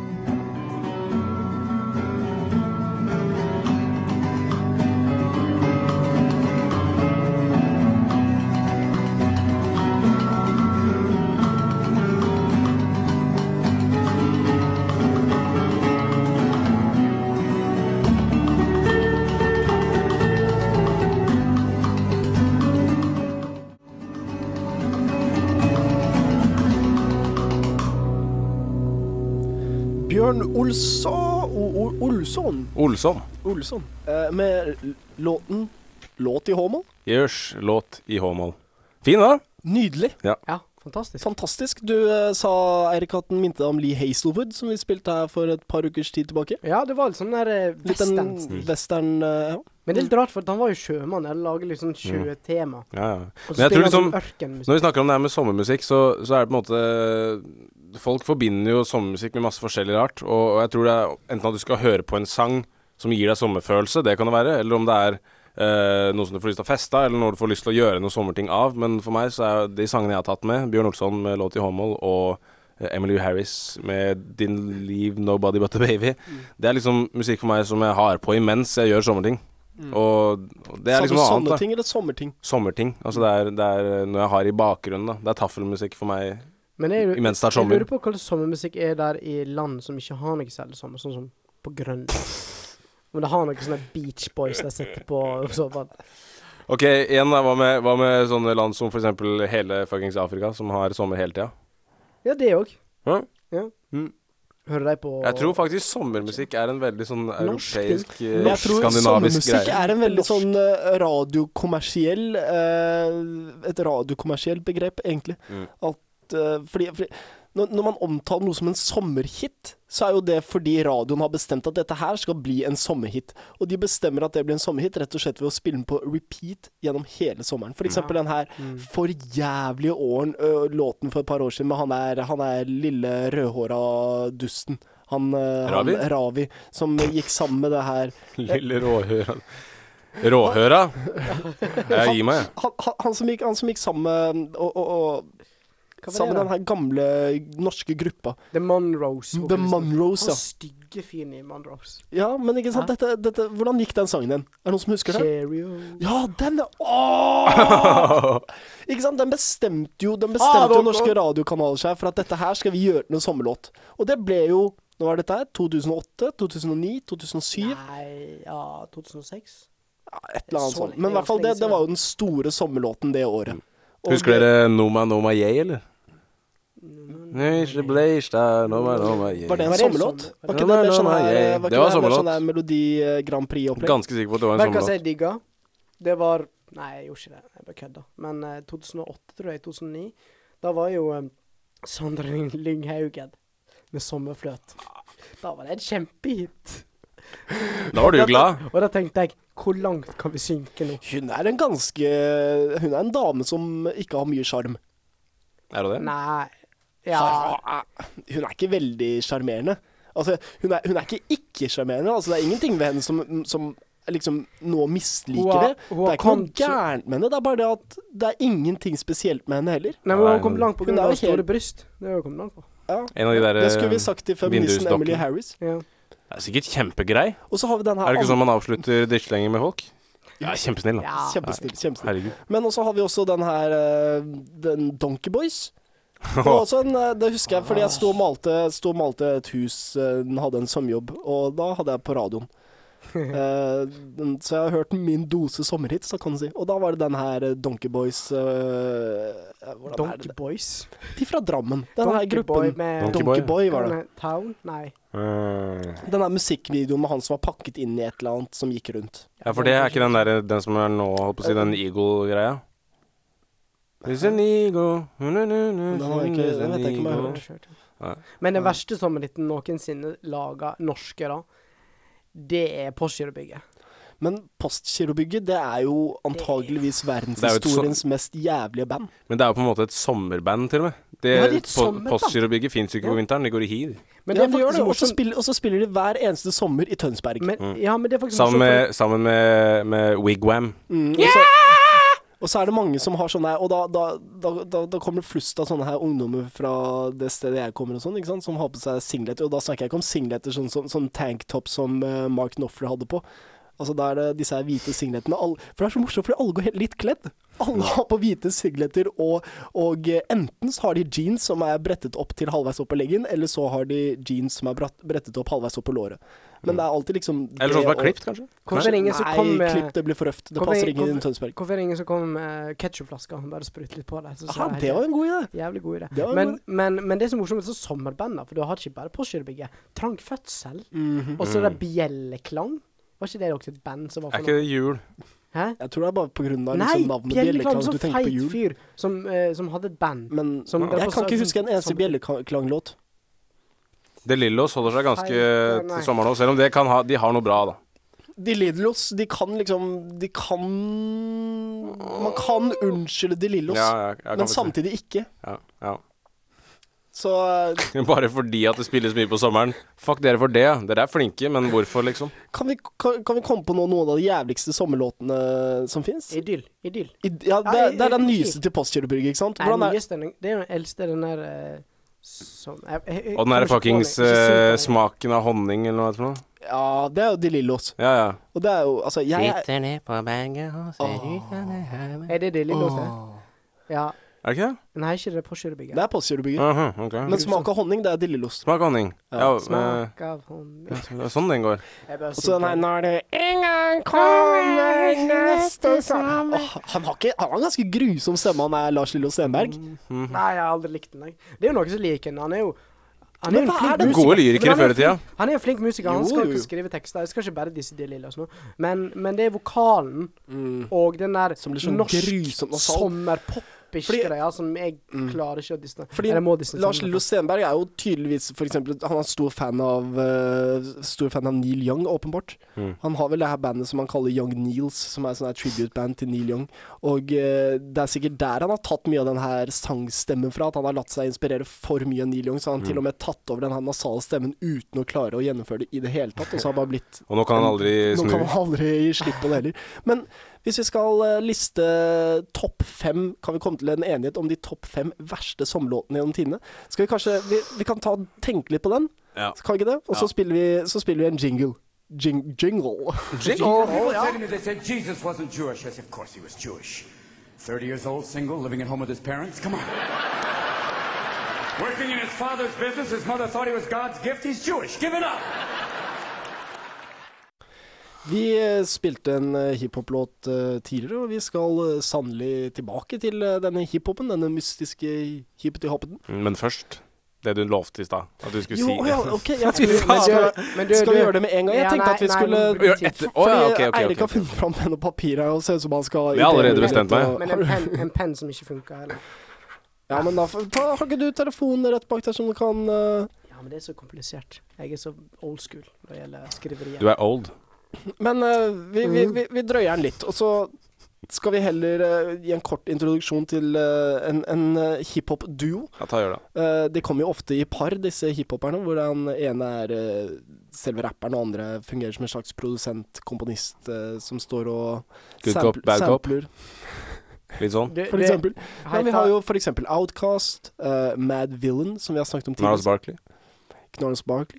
C: Bjørn Olsson, o o Olsson,
D: Olsson.
C: Olsson eh, med l- låten Låt i H-moll.
D: Gjørs låt i H-moll. Fin, da?
C: Nydelig.
D: Ja.
E: Ja, Fantastisk.
C: Fantastisk. Du eh, sa, Eirik, at den minte deg om Lee Hazelwood, som vi spilte her for et par ukers tid tilbake.
E: Ja, det var litt sånn der eh,
C: Litt en
E: western.
C: western eh, ja.
E: Men det er litt rart, for han var jo sjømann. Jeg lager litt sånn sjøtema.
D: Ja, ja.
E: Og
D: Men jeg tror
E: så spiller han
D: liksom
E: sånn ørkenmusikk.
D: Når vi snakker om det her med sommermusikk, så, så er det på en måte Folk forbinder jo sommermusikk med masse forskjellig rart, og, og jeg tror det er enten at du skal høre på en sang som gir deg sommerfølelse, det kan det være, eller om det er eh, noe som du får lyst til å feste av, eller noe du får lyst til å gjøre noe sommerting av. Men for meg så er de sangene jeg har tatt med, Bjørn Olsson med 'Låt i håndmål' og eh, Emily Harris med 'Din Leave Nobody But A Baby', det er liksom musikk for meg som jeg har på imens jeg gjør sommerting. Og, og
C: Sa
D: det er liksom
C: du
D: noe
C: sånne
D: annet. da
C: ting eller sommerting?
D: sommerting. Altså det er, det er noe jeg har i bakgrunnen. da Det er taffelmusikk for meg.
E: Men jeg,
D: Imens det er
E: jeg
D: sommer.
E: lurer på hva slags sommermusikk er der i land som ikke har noe særlig sommer, sånn som på Grønland. Men det har noen sånne Beach Boys der sitter på og så bare
D: Ok, igjen da, Hva med, hva med sånne land som f.eks. hele fuckings Afrika, som har sommer hele tida?
E: Ja, det òg.
D: Hæ?
E: Ja.
D: Mm.
E: Hører de på
D: Jeg tror faktisk sommermusikk er en veldig sånn
E: Norsk
D: europeisk, eh,
C: Jeg tror
D: skandinavisk
C: sommermusikk
D: greie.
C: er en veldig sånn eh, radiokommersiell eh, Et radiokommersielt begrep, egentlig. At, eh, fordi, fordi når, når man omtaler noe som en sommerhit, så er jo det fordi radioen har bestemt at dette her skal bli en sommerhit. Og de bestemmer at det blir en sommerhit rett og slett ved å spille den på repeat gjennom hele sommeren. For eksempel den her forjævlige åren, ø, låten for et par år siden med han er, han er lille rødhåra dusten. Han, ø,
D: Ravi?
C: han Ravi, som gikk sammen med det her
D: Lille råhøra. Råhøra? Jeg gir meg, jeg.
C: han, han, han, som gikk, han som gikk sammen med og, og,
E: Hva var
C: og Sammen
E: det
C: med den her gamle norske gruppa.
E: The Monroes.
C: The Monroes, ja.
E: ja. Han stygge fyren i Monroes.
C: Ja, men ikke sant, dette, dette, hvordan gikk den sangen din? Er det noen som husker den?
E: Cheerio.
C: Ja, den er- Åh! Ikke sant, den bestemte jo Den bestemte jo norske radiokanaler seg for at dette her skal vi gjøre til en sommerlåt. Og det ble jo Nå er dette her 2008, 2009, 2007
E: Nei, ja, 2006?
C: Et eller annet
E: så
C: sånt.
E: lenge,
C: Men i hvert fall,
E: ganske
C: det,
E: lenge
C: det
E: siden.
C: var jo den store sommerlåten det året. Og
D: Husker
C: det-
D: dere Noma Noma Yay, eller? Nisje bleisha, Noma Noma Yay.
C: Var det en
E: Var det en
C: sommerlåt?
E: sommer-
C: Var
D: Ja,
C: ikke det
D: nei,
C: mer sånn
D: nei,
C: her,
D: jeg-
C: var
D: det
C: ikke det mer
D: var sommerlåt.
C: sånn her Melodi eh, Grand Prix-opplegg?
D: Ganske sikker på at det var en sånn
E: Vet du hva
D: sommerlåt.
E: jeg digga? Det var Nei, jeg gjorde ikke det. Jeg bare kødda. Men eh, 2008, tror jeg. 2009. Da var jo eh, Sondre Lyng- Lynghaugen med 'Sommerfløt'. Da var det en kjempehit.
D: Da var du jo glad.
E: Og da tenkte jeg hvor langt kan vi synke nå?
C: Hun er en ganske Hun er en dame som ikke har mye sjarm.
D: Er det det?
E: Nei Ja.
C: Hun er ikke veldig sjarmerende. Altså, hun er, hun er ikke ikke-sjarmerende. Altså, det er ingenting ved henne som, som liksom nå
E: Hun
C: misliker
E: har-
C: det.
E: hun
C: Det
E: har
C: er ikke
E: kommet
C: noe
E: så-
C: gærent med henne, det er bare det at det er ingenting spesielt med henne heller.
E: Nei, men hun kom langt på
C: Hun
E: grunn
C: er
E: av
C: jo
E: store
C: helt-
E: bryst. Det har hun kommet langt på.
D: En av de der eh,
C: Det skulle vi sagt til feministen
D: vindusdokken.
C: Emily Harris.
E: Ja.
D: Det er sikkert kjempegrei.
C: Og så har vi den her
D: Er det ikke
C: andre-
D: sånn man avslutter drittslenger med folk? Ja, kjempesnill, da.
E: Ja.
C: Kjempesnill. kjempesnill.
D: Herregud.
C: Men også har vi også den her eh, Den Donkey Boys. Det, var også en, eh, det husker jeg fordi jeg sto og malte, sto og malte et hus, eh, den hadde en sommerjobb, og da hadde jeg på radioen. Eh, den, så jeg har hørt min dose sommerhits, da kan du si. Og da var det den her eh, Donkey Boys eh, eh, Hvordan er det?
E: Donkey Boys.
C: De fra Drammen. Den her
E: Donkey Boy
C: gruppen.
E: med
D: Donkey
C: Donkey,
D: Boy.
C: Boy,
E: Hva
C: var det.
E: med Town? Nei. Eh,
D: Ja,
C: Den her musikkvideoen med han som var pakket inn i et eller annet som gikk rundt.
D: for det er ikke den der, den som er nå, holdt på å si, den Eagle-greia? There's an eagle
C: Men den har jeg ikke- den vet jeg ikke om jeg har
E: Ja,
C: hørt.
E: jeg skjønte.
D: Nei.
E: Men den verste sommerhiten noensinne laga norske, da, det er Postgirobygget.
C: Men Postkirobygget, det er jo antageligvis
D: jo et
C: verdenshistoriens mest jævlige band.
D: Men det er jo på en måte et sommerband, til og med. Det,
E: Ja, det er et
D: po
E: sommerband.
D: Postgirobygget fins jo ikke på vinteren, de går i hi. de.
E: Men
C: ja,
E: det er
C: de gjør det,
E: faktisk
C: og så
E: morsomt.
C: spiller, og så spiller de hver eneste sommer i Tønsberg.
E: Men,
D: Mm.
E: ja, men det er faktisk
D: Sammen
E: morsomt,
D: med, sammen med, med Wigwam.
C: Mm. Og så er det mange som har sånne her, og da, da, da, da, da kommer det flust av sånne her ungdommer fra det stedet jeg kommer og sånn, ikke sant, som har på seg singleter. Og da snakker jeg ikke om singleter sånn, sånn, sånn tanktop som eh, Mark Knopfler hadde på. Altså da er det disse her hvite singletene. Alle, for det er så morsomt, fordi alle går helt litt kledd. Alle har på hvite singleter, og, og eh, enten så har de jeans som er brettet opp til halvveis opp på leggen, eller så har de jeans som er bratt, brettet opp halvveis opp på låret. Men det er
E: Mm.
C: alltid liksom
D: Eller sånn som
C: det
D: er
C: og-
D: klippet, kanskje?
E: Hvorfor er det ingen som
C: Nei,
E: kom med
C: klipp, det blir for røft. Det
E: Hvorfor-
C: passer ikke inn i
E: hvorfor-
C: Tønsberg.
E: Hvorfor er det ingen som kom med ketsjupflasker? Bare sprut litt på det. Så
C: Aha, det var en god idé.
E: Jævlig god idé.
C: Det var en
E: men,
C: god
E: men, men det som er morsomt med sånn sommerband, da, for du har ikke bare Postgirobygget. Trang
C: Mhm.
E: fødsel, og så er det bjelleklang. Var ikke det også et band som var
D: Mm. Er
E: for
D: ikke
E: noe?
D: det jul?
E: Hæ?
C: Jeg tror det er bare pga.
E: Nei,
C: Liksom navnet
E: Bjelleklang,
C: Bjelleklang.
E: så
C: Du tenker på
E: feit
C: jul.
E: fyr som, eh, som hadde et band.
C: Men
E: Som-
C: jeg kan ikke huske en eneste
E: som-
C: Bjelleklang-låt.
D: De Lillos holder seg ganske
E: Nei, nei.
D: til sommeren òg, selv om det kan ha, de har noe bra, da.
C: De Lillos, de kan liksom De kan Man kan unnskylde De Lillos,
D: Ja, ja, jeg kan
C: men
D: forstå.
C: samtidig ikke.
D: Ja, ja.
C: Så
D: Bare fordi at det spilles mye på sommeren. Fuck dere for det. Dere er flinke, men hvorfor, liksom?
C: kan vi, kan, kan vi komme på noe, noen av de jævligste sommerlåtene som fins?
E: Idyll. Idyll.
C: Ja, det,
E: Ja,
C: er- det er den
E: i- i-
C: nyeste til Postkjørebrygget, ikke sant?
E: Nei, den
C: Hvordan er
E: nyeste, den- det er den eldste, den der eh, som jeg, jeg, jeg,
D: Og den derre
E: kommer ikke på
D: fuckings
E: den. Ikke
D: eh,
E: Sultan.
D: smaken av honning eller noe sånt.
C: Ja, det er jo De Lillos.
D: Ja, ja.
C: Og det er jo Altså, jeg er
E: Er det Dilly Lås, det? Ja.
D: Er det ikke det?
E: Nei, ikke det påkjørebygget.
C: Det er Postkjørebrygget.
D: Aha, ok.
C: Men smak av honning, det er De Lillos.
D: Smak honning. Ja, eh,
E: Smak av honning
D: det er sånn den går.
E: Jeg bare
C: Og så den
E: sier-
C: her Når det en gang kommer neste sommer Åh, han, har ikke, han har en ganske grusom stemme, han er Lars Lillo Stenberg.
E: Nei, jeg har aldri likt den. jeg. Det er jo noen som liker den. Han er jo han
C: Men
E: jo en
C: hva
E: flink
C: er det-
E: musiker.
D: Gode lyrikere
E: Men han er
D: før i
E: en flink-
D: tida.
E: Han er en flink musiker. Han
C: Jo,
E: skal
C: jo, jo.
E: kunne skrive tekster. Jeg skal ikke bare disse de lilla nå. Men, men det er vokalen og den der
C: Mm. Som blir sånn grusomt nasal.
E: norsk
C: Fordi- Mm.
E: sommerpop-ish-greia som jeg klarer ikke å disse.
C: Fordi
E: altså. Eller må disse
C: Lars Lillo Stenberg er jo tydeligvis for eksempel, Han er stor fan av eh, Stor fan av Neil Young, åpenbart. Han har vel det her bandet som han kaller Young Neils, som er sånn her tribute-band til Neil Young. Og eh, det er sikkert der han har tatt mye av den her sangstemmen fra, at han har latt seg inspirere for mye av Neil Young. Så har han til og med tatt over den her nasale stemmen uten å klare å gjennomføre det i det hele tatt. Og så har han bare blitt
D: Og nå kan han aldri
C: nå
D: snu.
C: kan man aldri gi slipp på det heller. Men hvis vi skal eh, liste topp fem, kan vi komme til en enighet om de topp fem verste sommerlåtene gjennom tidene? Skal vi kanskje Vi, vi kan ta, tenke litt på den,
D: Ja.
C: kan vi ikke det? Og så, spiller, vi, så spiller vi en jingle. Jing, jingle.
I: People said to me, they said Jesus wasn't Jewish. I said, of course he was Jewish. 30 years old, single, living at home with his parents. Come on. Working in his father's business, his mother thought he was God's gift. He's Jewish. Give it up.
C: Vi eh, spilte en eh, hiphop-låt eh, tidligere, og vi skal eh, sannelig tilbake til eh, denne hiphopen. Denne mystiske hippeti-hoppeten.
D: Men først det du lovte i stad. At du skulle
C: Jo,
D: si
C: ja, OK. Jeg
D: Fy
C: trodde-
D: faen.
C: skal,
E: Men du-
C: skal vi
E: du-
C: gjøre det med en gang? Jeg
E: Ja,
C: tenkte
E: nei,
C: at vi
E: nei,
C: skulle
E: nå bruker vi
D: Gjør
E: tid.
D: etter. Å
C: Fordi
D: ja, ok, ok.
C: Eirik
D: ok,
C: har funnet fram penn og papir her og ser ut som han skal
D: Jeg har allerede
C: ut i-
D: bestemt meg.
E: Men en penn en penn som ikke funker heller.
C: Ja, men da får- ta, Har ikke du telefonen rett bak der som du kan eh,
E: Ja, men det er så komplisert. Jeg er så old school når det gjelder skriverier.
D: Du er old.
C: Men eh, vi, vi, vi, vi drøyer den litt, og så skal vi heller eh, gi en kort introduksjon til eh, en, en eh, hiphop-duo.
D: Ja, ta og gjør det.
C: Eh, de kommer jo ofte i par, disse hiphoperne, hvor den ene er eh, selve rapperen, og andre fungerer som en slags produsent, komponist, eh, som står og
D: Good cop, bad cop.
C: sampler,
D: Litt sånn.
E: Du-
C: for
E: det-
C: eksempel.
E: Hei,
C: Ja, vi
E: ta-
C: har jo for eksempel Outcast, eh, Mad Villain, som vi har snakket om
D: Narls
C: tidligere.
D: Barkley.
C: Knarls Barkley.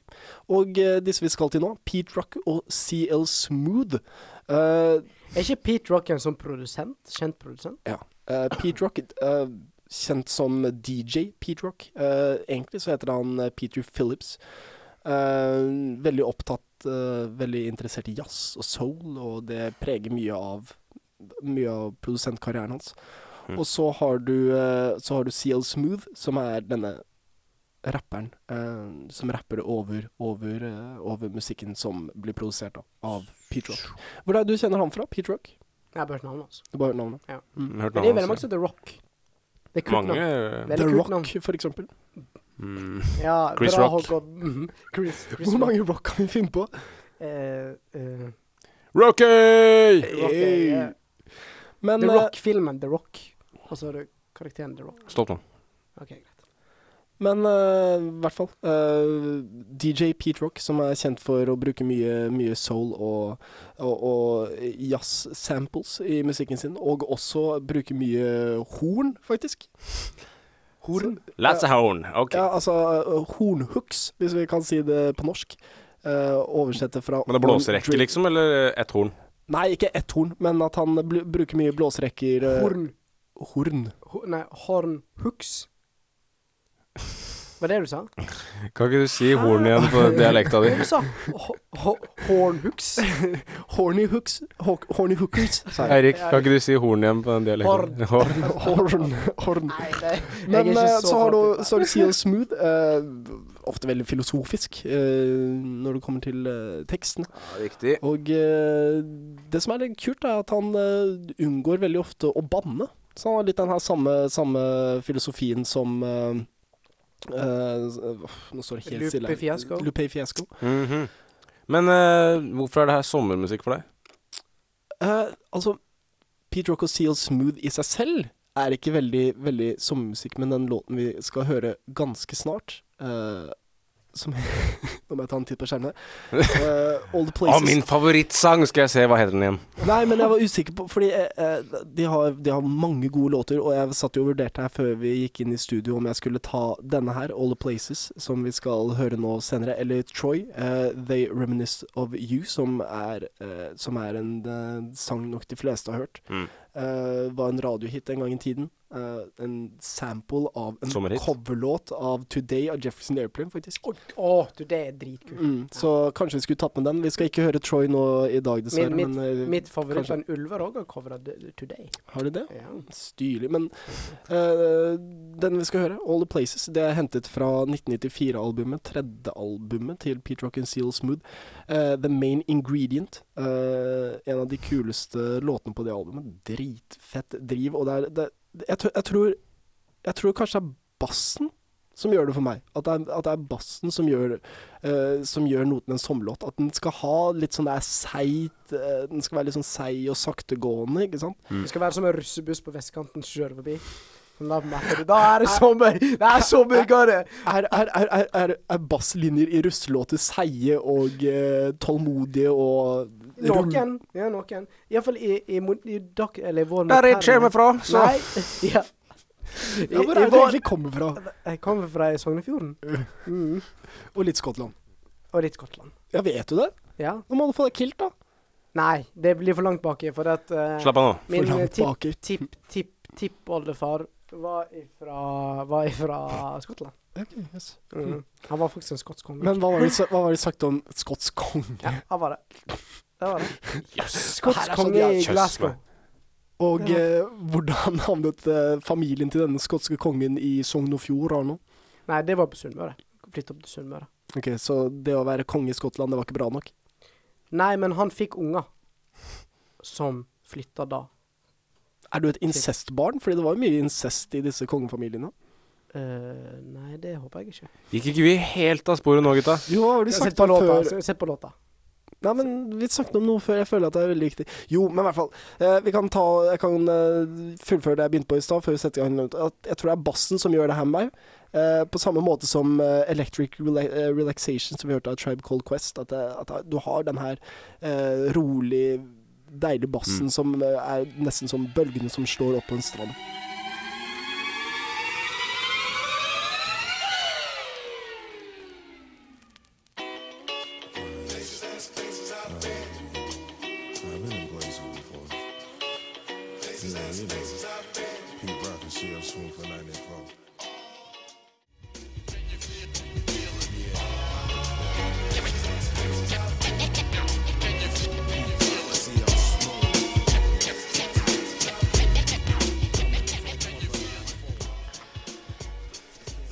C: Og eh, disse vi skal til nå, Pete Rock og CL Smooth. Eh,
E: Er ikke Pete Rock en sånn produsent? Kjent produsent?
C: ja. Eh, Pete Rock, eh, kjent som DJ Pete Rock. Eh, egentlig så heter han eh, Peter Phillips. Eh, veldig opptatt, eh, veldig interessert i jazz og soul, og det preger mye av mye av produsentkarrieren hans. Og så har du, eh, så har du CL Smooth, som er denne rapperen eh, som rapper over, over, eh, over musikken som blir produsert da, av Pete Rock. Hvor er det du kjenner han fra? Pete Rock?
E: Jeg har bare hørt navnet hans.
C: Du bare hørt navnet.
D: Hørt
E: Men det er veldig
D: navnet
E: mange
D: hans.
E: som heter Rock. Det er kult
D: Mange mm.
E: navn.
D: eh,
E: Veldig
C: The
E: kult
C: Rock,
E: navn.
C: for eksempel.
E: Ja,
D: Chris
E: bra
D: Rock.
E: Hogg og- Mhm. Chris, Chris
C: Hvor
E: Rock.
C: mange rock kan vi finne på?
E: Eh, eh,
D: Rocky!
E: Rock er, ja.
C: Men
E: The
C: eh,
E: Rock-filmen The Rock. Og så har du karakteren The Rock.
D: Stopp nå.
E: Ok, greit.
C: Men eh, i hvert fall eh, DJ Pete Rock, som er kjent for å bruke mye, mye soul og, og, og jazz-samples i musikken sin, og også bruke mye horn, faktisk. Horn?
D: That's a horn. Ok.
C: Ja, altså eh, hornhooks, hvis vi kan si det på norsk. Uh, oversette fra
D: Men det er blåserekke, liksom? Eller ett horn?
C: Nei, ikke ett horn, men at han bl bruker mye blåserekker. eh,
E: Horn
C: horn.
E: ho, Nei, Horn Hooks. Var det du sa?
D: Kan ikke du si horn igjen
C: Ah.
D: på dialekta di?
E: Du sa ho- ho- hornhooks.
C: Horny hooks ho- Horny hookers, sa jeg.
D: Eirik, kan ikke du si horn igjen på den dialekten? Horn.
C: Horn, horn.
E: Nei, det,
C: Men
E: jeg er
C: eh,
E: ikke
C: så,
E: så
C: har
E: fattig.
C: du så har du Seal Smooth. eh, ofte veldig filosofisk eh, når det kommer til eh, teksten.
D: Riktig.
C: Og eh, det som er litt kult, er at han eh, unngår veldig ofte å banne. Så han har litt den her samme, samme filosofien som eh, eh, Nå står det helt
E: Lupe
C: stille. her.
E: Fiasco.
C: Lupe Fiasco.
D: Mhm. Men eh, hvorfor er det her sommermusikk for deg?
C: Eh, altså, Pete Rock og Seal Smooth i seg selv er ikke veldig, veldig sommermusikk, men den låten vi skal høre ganske snart, eh, som Nå må jeg ta en titt på skjermen her. Eh, All the
D: Å,
C: Places
D: min favorittsang! Skal jeg se, hva heter den igjen?
C: Nei, men jeg var usikker på Fordi eh, eh, de, har, de har mange gode låter, og jeg satt jo og vurderte her før vi gikk inn i studio om jeg skulle ta denne her, All the Places, som vi skal høre nå senere, eller Troy, eh, They Reminisce of You, som er, eh, som er en eh, sang nok de fleste har hørt. Eh, var en radiohit en gang i tiden. Eh, en sample av en
D: Sommerhit.
C: coverlåt av Today av Jefferson Airplane, faktisk.
E: Å, du, det er dritkult.
C: Mm, så kanskje vi skulle tatt med den. Vi skal ikke høre Troy nå i dag, dessverre.
E: Min, mitt,
C: men, eh,
E: mitt favoritt
C: kanskje-
E: band Ulver òg har covra Today.
C: Har de det?
E: Ja.
C: Stilig. Men eh, den vi skal høre, All The Places, det er hentet fra 1994-albumet, tredje albumet til Pete Rock and Seal Smooth. Eh, The Main Ingredient. eh, en av de kuleste låtene på det albumet. Dritfett driv. Og det er det, jeg, tr- jeg, tror, jeg tror kanskje det er bassen som gjør det for meg. At det er, at det er bassen som gjør, eh, som gjør noe til en sommerlåt. At den skal ha litt sånn der seigt eh, Den skal være litt sånn seig og saktegående, ikke sant?
E: Det skal være som en russebuss på vestkanten som kjører forbi. Sånn, Da merker du, da er det sommer! Det er sommer, Kari!
C: Er, er, er, er, er, er basslinjer i russelåter seige og eh, tålmodige og rull-
E: Noen. Ja, noen. Iallfall i, i, mo- i, dak- eller i vår
D: Der jeg kommer fra, så
E: Nei. Ja. I,
C: Ja, hvor
E: i
C: er det det
E: vår,
C: egentlig kommer fra?
E: jeg kommer fra Sognefjorden. Mm.
C: Og litt Skottland.
E: Og litt Skottland.
C: Ja, vet du det?
E: Ja.
C: Nå må du få deg kilt, da.
E: Nei, det blir for langt baki, for at eh,
D: Slapp av nå.
E: min
C: langt baki.
E: tipp-tipp-tippoldefar var ifra, var ifra Skottland. Mm. Han var faktisk en skotsk konge.
C: Men hva var, det, sa- hva var det sagt om skotsk konge?
E: ja, han var det. Det var det.
C: Her
E: Skotsk
C: er sånn
E: konge i
C: jævlig-
E: Glasgow.
C: Og eh, hvordan havnet eh, familien til denne skotske kongen i Sogn og Fjordane?
E: Nei, det var på Sunnmøre. Flytta opp til Sunnmøre.
C: Ok, så det å være konge i Skottland, det var ikke bra nok?
E: Nei, men han fikk unger som flytta da.
C: Er du et incestbarn? Fordi det var jo mye incest i disse kongefamiliene.
E: Eh, nei, det håper jeg ikke.
D: Gikk ikke vi helt av sporet nå, gutta?
C: Jo, hva var det
E: Jeg
C: du
E: har sett
C: snakket
E: på
C: om
E: låta.
C: før?
E: se- Sett på låta.
C: Nei, men vi snakket om noe før. Jeg føler at det er veldig viktig. Jo, men i hvert fall. Eh, vi kan ta Jeg kan eh, fullføre det jeg begynte på i stad, før vi setter i gang. noe annet. At jeg tror det er bassen som gjør det her med meg. Eh, på samme måte som eh, Electric Rela eh, Relaxation, som vi hørte av Tribe Called Quest. At, det- at du har den her eh, rolig, deilige bassen som eh, er nesten som bølgene som slår opp på en strand.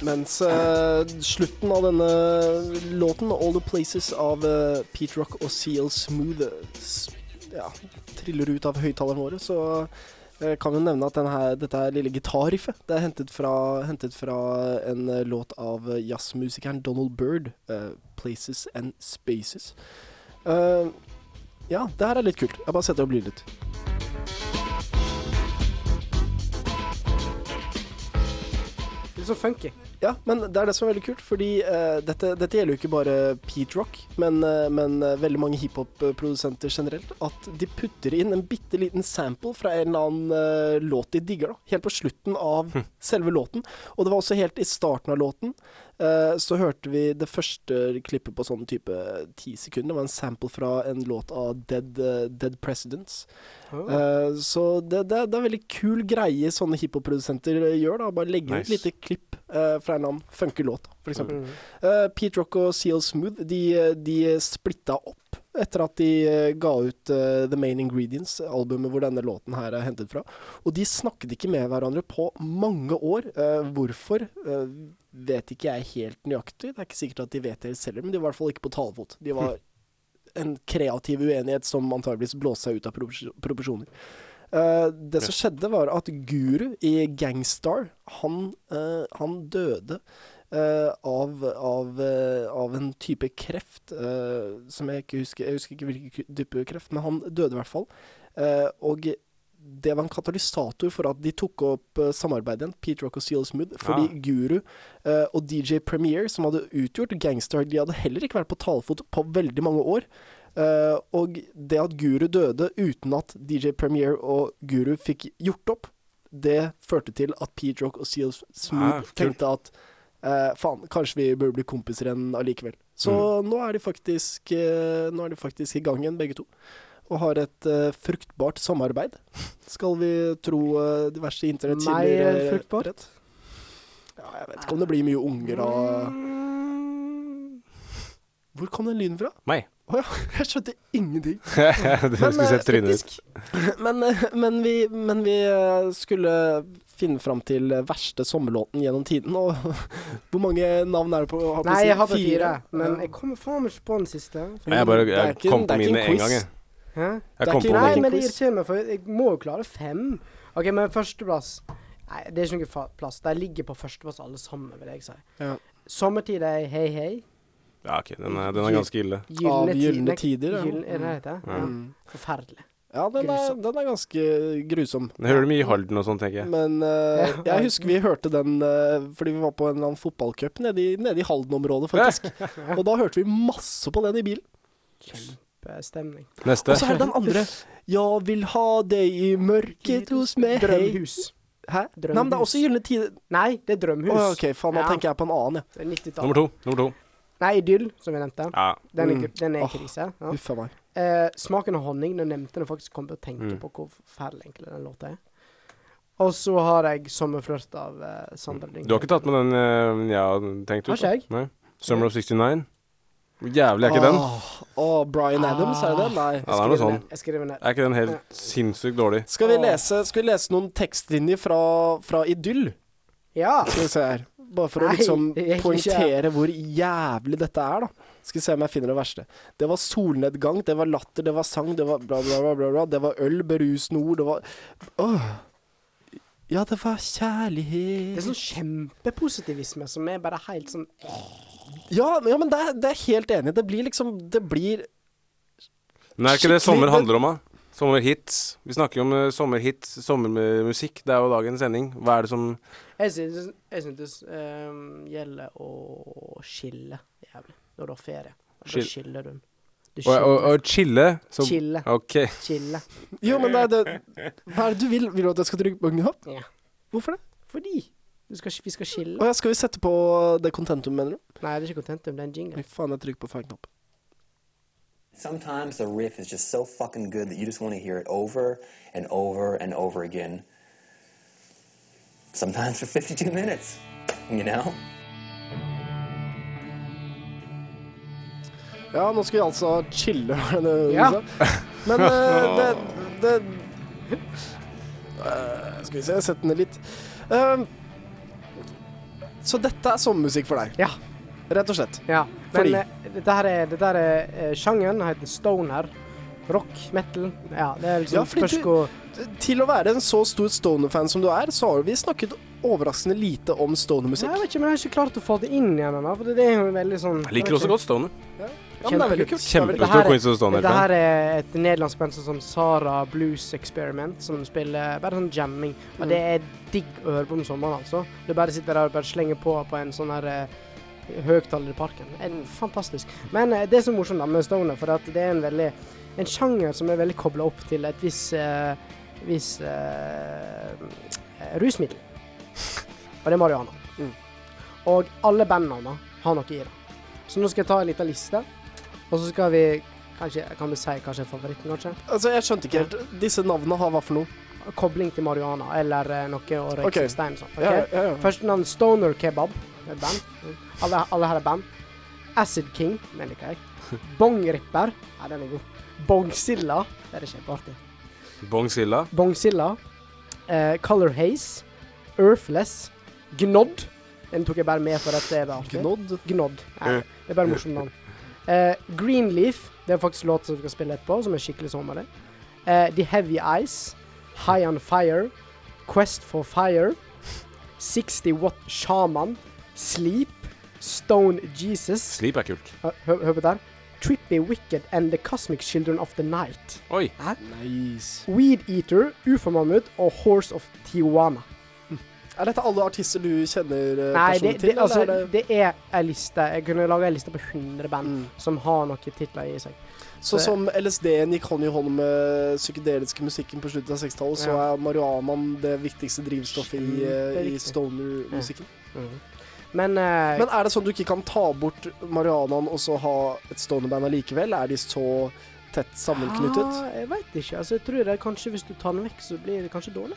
C: Mens eh, slutten av denne låten, 'All The Places' av eh, Pete Rock og CL Smooth, eh, s- ja, triller ut av høyttalerne våre, så eh, kan vi nevne at den her, dette her lille gitarriffet det er hentet fra, hentet fra en eh, låt av eh, jazzmusikeren Donald Byrd, eh, 'Places and Spaces'. Eh, ja, det her er litt kult. Jeg bare setter opp lyden litt.
E: Litt sånn funky.
C: Ja, men det er det som er veldig kult, fordi eh, dette, dette gjelder jo ikke bare Pete Rock, men, eh, men eh, veldig mange hiphop-produsenter generelt, at de putter inn en bitte liten sample fra en eller annen eh, låt de digger, da, helt på slutten av selve låten. Og det var også helt i starten av låten. eh, så hørte vi det første klippet på sånn type ti sekunder. Det var en sample fra en låt av Dead, eh, Dead Presidents. Eh, så det, det, det er veldig kul greie sånne hiphop-produsenter eh, gjør. da Bare legge
D: Nice.
C: ut lite klipp eh, fra en eller annen funkelåt, f.eks. eksempel Eh, Pete Rock og Seal Smooth de, eh, de splitta opp etter at de eh, ga ut eh, The Main Ingredients, albumet hvor denne låten her er hentet fra. Og de snakket ikke med hverandre på mange år. Eh, hvorfor eh, vet ikke jeg helt nøyaktig. Det er ikke sikkert at de vet det selv, men de var i hvert fall ikke på talefot. De var en kreativ uenighet som antageligvis blåste seg ut av propos- proporsjoner. Eh, det som skjedde, var at Guru i Gangstar, han, eh, han døde eh, av, av, eh, av en type kreft eh, som jeg ikke husker Jeg husker ikke hvilken ku- type kreft, men han døde i hvert fall. Eh, og det var en katalysator for at de tok opp eh, samarbeidet igjen, Pete Rock og Seal Smooth, fordi
D: Ah.
C: Guru eh, og DJ Premier, som hadde utgjort Gangstar, de hadde heller ikke vært på talefot på veldig mange år. Eh, og det at Guru døde uten at DJ Premier og Guru fikk gjort opp, det førte til at Pete Rock og Seal Smooth
D: Ah, kult.
C: tenkte at eh, faen, kanskje vi burde bli kompiser igjen allikevel. Så nå, er de faktisk, eh, nå er de faktisk i gang igjen, begge to. Og har et eh, fruktbart samarbeid, skal vi tro eh, diverse internettkilder.
E: Mer
C: eh,
E: fruktbart?
C: rett. Ja, jeg vet ikke om det blir mye unger av Mm. Hvor kom den lyden fra?
D: Meg.
C: Å ja, jeg skjønte ingenting.
D: du skulle
C: eh,
D: sett trynet ditt.
C: Men, eh, men, vi, men vi eh, skulle finne fram til verste sommerlåten gjennom tiden, og hvor mange navn er det på? har på
E: Nei,
C: si-
E: jeg hadde fire, men
C: Ja.
E: jeg kommer faen meg ikke på den siste.
D: Nei, jeg bare
C: Det er
D: jeg
C: ikke-
D: kom
C: det
D: på
C: er ikke en
D: mine
C: quiz.
D: en gang, jeg.
E: Hæ?
D: Jeg
C: Det er
D: kom
C: ikke-
D: på
E: Nei,
D: mine.
C: en
E: men det
C: quiz.
E: irriterer meg, for jeg må jo klare fem. OK, men førsteplass Nei, det er ikke noen fa- plass. De ligger på førsteplass alle sammen, vil jeg si.
C: Ja.
E: Sommertid er hei, hei.
D: Ja, ok, den er, den er ganske ille.
C: Av
E: Gylne
C: Gyldne Tider, ja.
E: ja. Gylne, er det det heter? Ja. Forferdelig.
C: Ja, den er, den er ganske grusom.
D: Den hører du mye i Halden og sånn, tenker jeg.
C: Men eh, jeg husker vi hørte den eh, fordi vi var på en eller annen fotballcup nede i, nede i Halden-området, faktisk. Og da hørte vi masse på den i bilen.
E: Kjempestemning.
D: Neste.
C: Og så er det den andre. Jeg vil ha deg i mørket hos meg. Hei.
E: Drømhus.
C: Hæ? Nei, men det er også Gylne tider.
E: Nei, det er
C: Å,
E: Drømhus.
C: OK, faen, da tenker jeg på en annen, jeg.
E: Det er 90-tallet.
D: Nummer to. Nummer to.
E: Nei, Idyll, som jeg nevnte.
D: Ja.
E: Den er,
C: Mm.
E: gr- den er
C: Åh,
E: krise. Ja.
C: Huff a meg.
E: Eh, smaken av honning, den nevnte jeg faktisk kom til å
D: Mm.
E: tenke på hvor forferdelig egentlig den låta er. Og så har jeg 'Sommerflørt' av eh, Sander Lyng.
D: Mm. Du har ikke tatt med den eh, jeg har tenkt ut?
E: Har ikke jeg.
D: da? Nei. Summer of Ah, 69. Hvor Jævlig er ikke den.
C: Å, Bryan Adams, er det den? Nei.
D: Ja, det er noe sånn.
E: Jeg skriver ned.
D: Er ikke den helt sinnssykt dårlig?
C: Skal vi lese, skal vi lese noen tekstlinjer fra, fra Idyll?
E: Ja!
C: Skal vi se her. Bare for å
E: Nei,
C: liksom
E: det gikk ikke.
C: poengtere hvor jævlig dette er, da. Skal vi se om jeg finner det verste. Det var solnedgang, det var latter, det var sang, det var bla, bla, bla, bla. bla. Det var øl, berusende ord, det var Åh. Ja, det var
E: Det er
C: kjærlighet
E: sånn kjempepositivisme som er bare helt sånn
C: Ja, men- ja men det er, det er jeg helt enig. i. Det blir liksom Det blir
D: Men er ikke det
C: Skikkelig,
D: sommer
C: det-
D: handler om, da? Sommerhits. Vi snakker jo om eh, sommerhits, sommermusikk. Det er jo dagens sending. Hva er det som
E: Jeg synes, jeg synes ehm, gjelder å skille jævlig når du har ferie. Da
D: Skil-
E: skiller du den. Du
D: Og, og,
E: skiller.
D: og chille? som-
E: Chille.
D: Ok.
E: Skille.
C: Jo, men det er det Hva er det du vil? Vil du at jeg skal trykke på knapp?
E: Ja.
C: Hvorfor det?
E: Fordi du skal, vi skal skille.
C: Å ja, skal vi sette på det contentum, mener du?
E: Nei, det er ikke contentum, det er en
C: Fy
E: jingle.
C: faen, jeg trykker på feil knapp.
J: Sometimes the riff is just so fucking good that you just want to hear it over and over and over again. Sometimes for 52 minutes, you know?
C: Ja, nå skal vi altså chille. var det det du
E: Ja.
C: sa? Men eh, det, det Eh, Skal vi se, sett den ned litt. Eh, så dette er sommermusikk for deg,
E: Ja.
C: rett og slett.
E: ja.
C: Fordi-
E: Men eh, dette her er, dette her er eh, sjangeren heter stoner. Rock, metal. Ja, det er
C: Ja,
E: liksom
C: fordi
E: spørs
C: du-
E: hvor
C: Til å være en så stor Stoner-fan som du er, så har vi snakket overraskende lite om
E: Nei,
C: Stoner-musikk.
E: Jeg vet ikke, men jeg har ikke klart å få det inn igjen ennå. For det er jo veldig sånn
D: Jeg liker også godt Stoner.
C: Ja, men det er veldig kult. Det er veldig-
E: Dette
D: Kjempestor
E: her-
D: Queens of Stoner.
E: Dette her er et nederlandsk band som Sara Blues Experiment, som spiller bare sånn jamming. Og det er digg å høre på om sommeren, altså. Du bare sitter der og bare slenger på på en sånn her eh, høgtaler i parken. En, fantastisk. Men eh, det som er morsomt da med Stoner, for at det er en veldig en sjanger som er veldig kobla opp til et visst eh, viss,
C: Mm.
E: eh, eh, rusmiddel. Og det er marihuana. Og alle bandnavnene har noe i det. Så nå skal jeg ta en liten liste, og så skal vi kanskje, Kan vi si kanskje favoritten, kanskje?
C: Altså, jeg skjønte ikke helt. Disse navnene har hva for noe?
E: Kobling til marihuana eller eh, noe og
C: Ok.
E: røykstein. Okay.
C: Ja, ja, ja.
E: Første navn Stoner Kebab. Det er et band. Alle, alle her er band. Acid King, den liker jeg. Bongripper. Ja, den er god. Bongzilla. Det er kjempeartig.
D: Bongzilla.
E: Bongzilla. Eh, Color Haze. Earthless. Gnodd. Den tok jeg bare med for at det var artig.
C: Gnodd?
E: Gnodd. Nei, det er bare morsomt navn. Eh, Greenleaf. Det er faktisk låt som vi skal spille etterpå, som er skikkelig sommerlig. Eh, The Heavy Eyes. High on Fire. Quest for Fire. 60 Watt Shaman. Sleep. Stone Jesus.
D: Sleep er kult.
E: Hør, hør hør på der. Trippy Wicked and The Cosmic Children of the Night.
D: Oi.
C: Nice.
E: Weed Eater, Ufo-mammut og Horse of Tijuana.
C: Er dette alle artister du kjenner eh,
E: Nei, det,
C: personlig
E: det,
C: til?
E: altså,
C: eller er det... Mm.
E: det er ei liste. Jeg kunne laga ei liste på 100 band som har noen titler i seg.
C: Så som LSD-en gikk hånd i hånd med psykedeliske musikken på slutten av 60-tallet, så
E: Ja.
C: er marihuanaen det viktigste drivstoffet i, eh, i
E: Kjempeviktig.
C: stoner-musikken.
E: Men, eh,
C: Men er det sånn du ikke kan ta bort marihuanaen og så ha et stoner-band allikevel? Er de så tett sammenknyttet?
E: ah, jeg veit ikke. Altså, jeg tror det er kanskje hvis du tar den vekk, så blir det kanskje dårlig.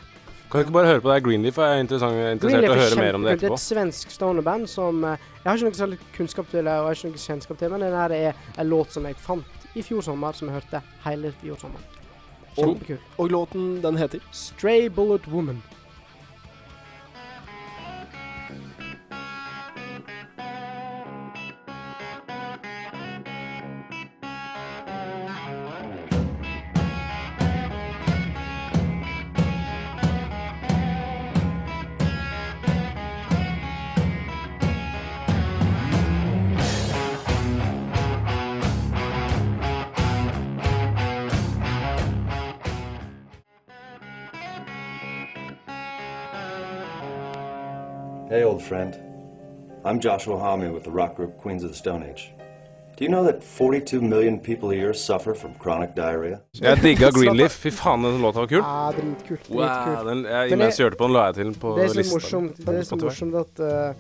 D: Kan du ikke bare høre på det? her? Greenleaf er interessant, interessert i
E: Greenleaf
D: å
E: er
D: høre mer om det
E: kjempekult. Det er
D: etterpå.
E: et svensk stonerband som eh, Jeg har ikke noe særlig kunnskap til, og jeg har ikke noe kjennskap til, men den her er en låt som jeg fant i fjor sommer, som jeg hørte hele fjor sommer.
C: Og,
E: Kjempekult.
C: og låten, den heter?
E: Stray Bullet Woman.
H: Hey, old friend. I'm Joshua Homme with the rock group Queens of the Stone Age. Do you know that 42 million people a year suffer from chronic diarrhea?
D: Jeg digga Greenleaf. Fy faen, den låta var kul.
E: Ja, Ah, dritkult. dritkult.
D: Wow, den, jeg,
E: Men
D: imens
E: det-
D: jeg hørte på den, la jeg til på
E: Det er så
D: lista.
E: morsomt, det
D: På
E: er så
D: Spotify.
E: morsomt at, eh,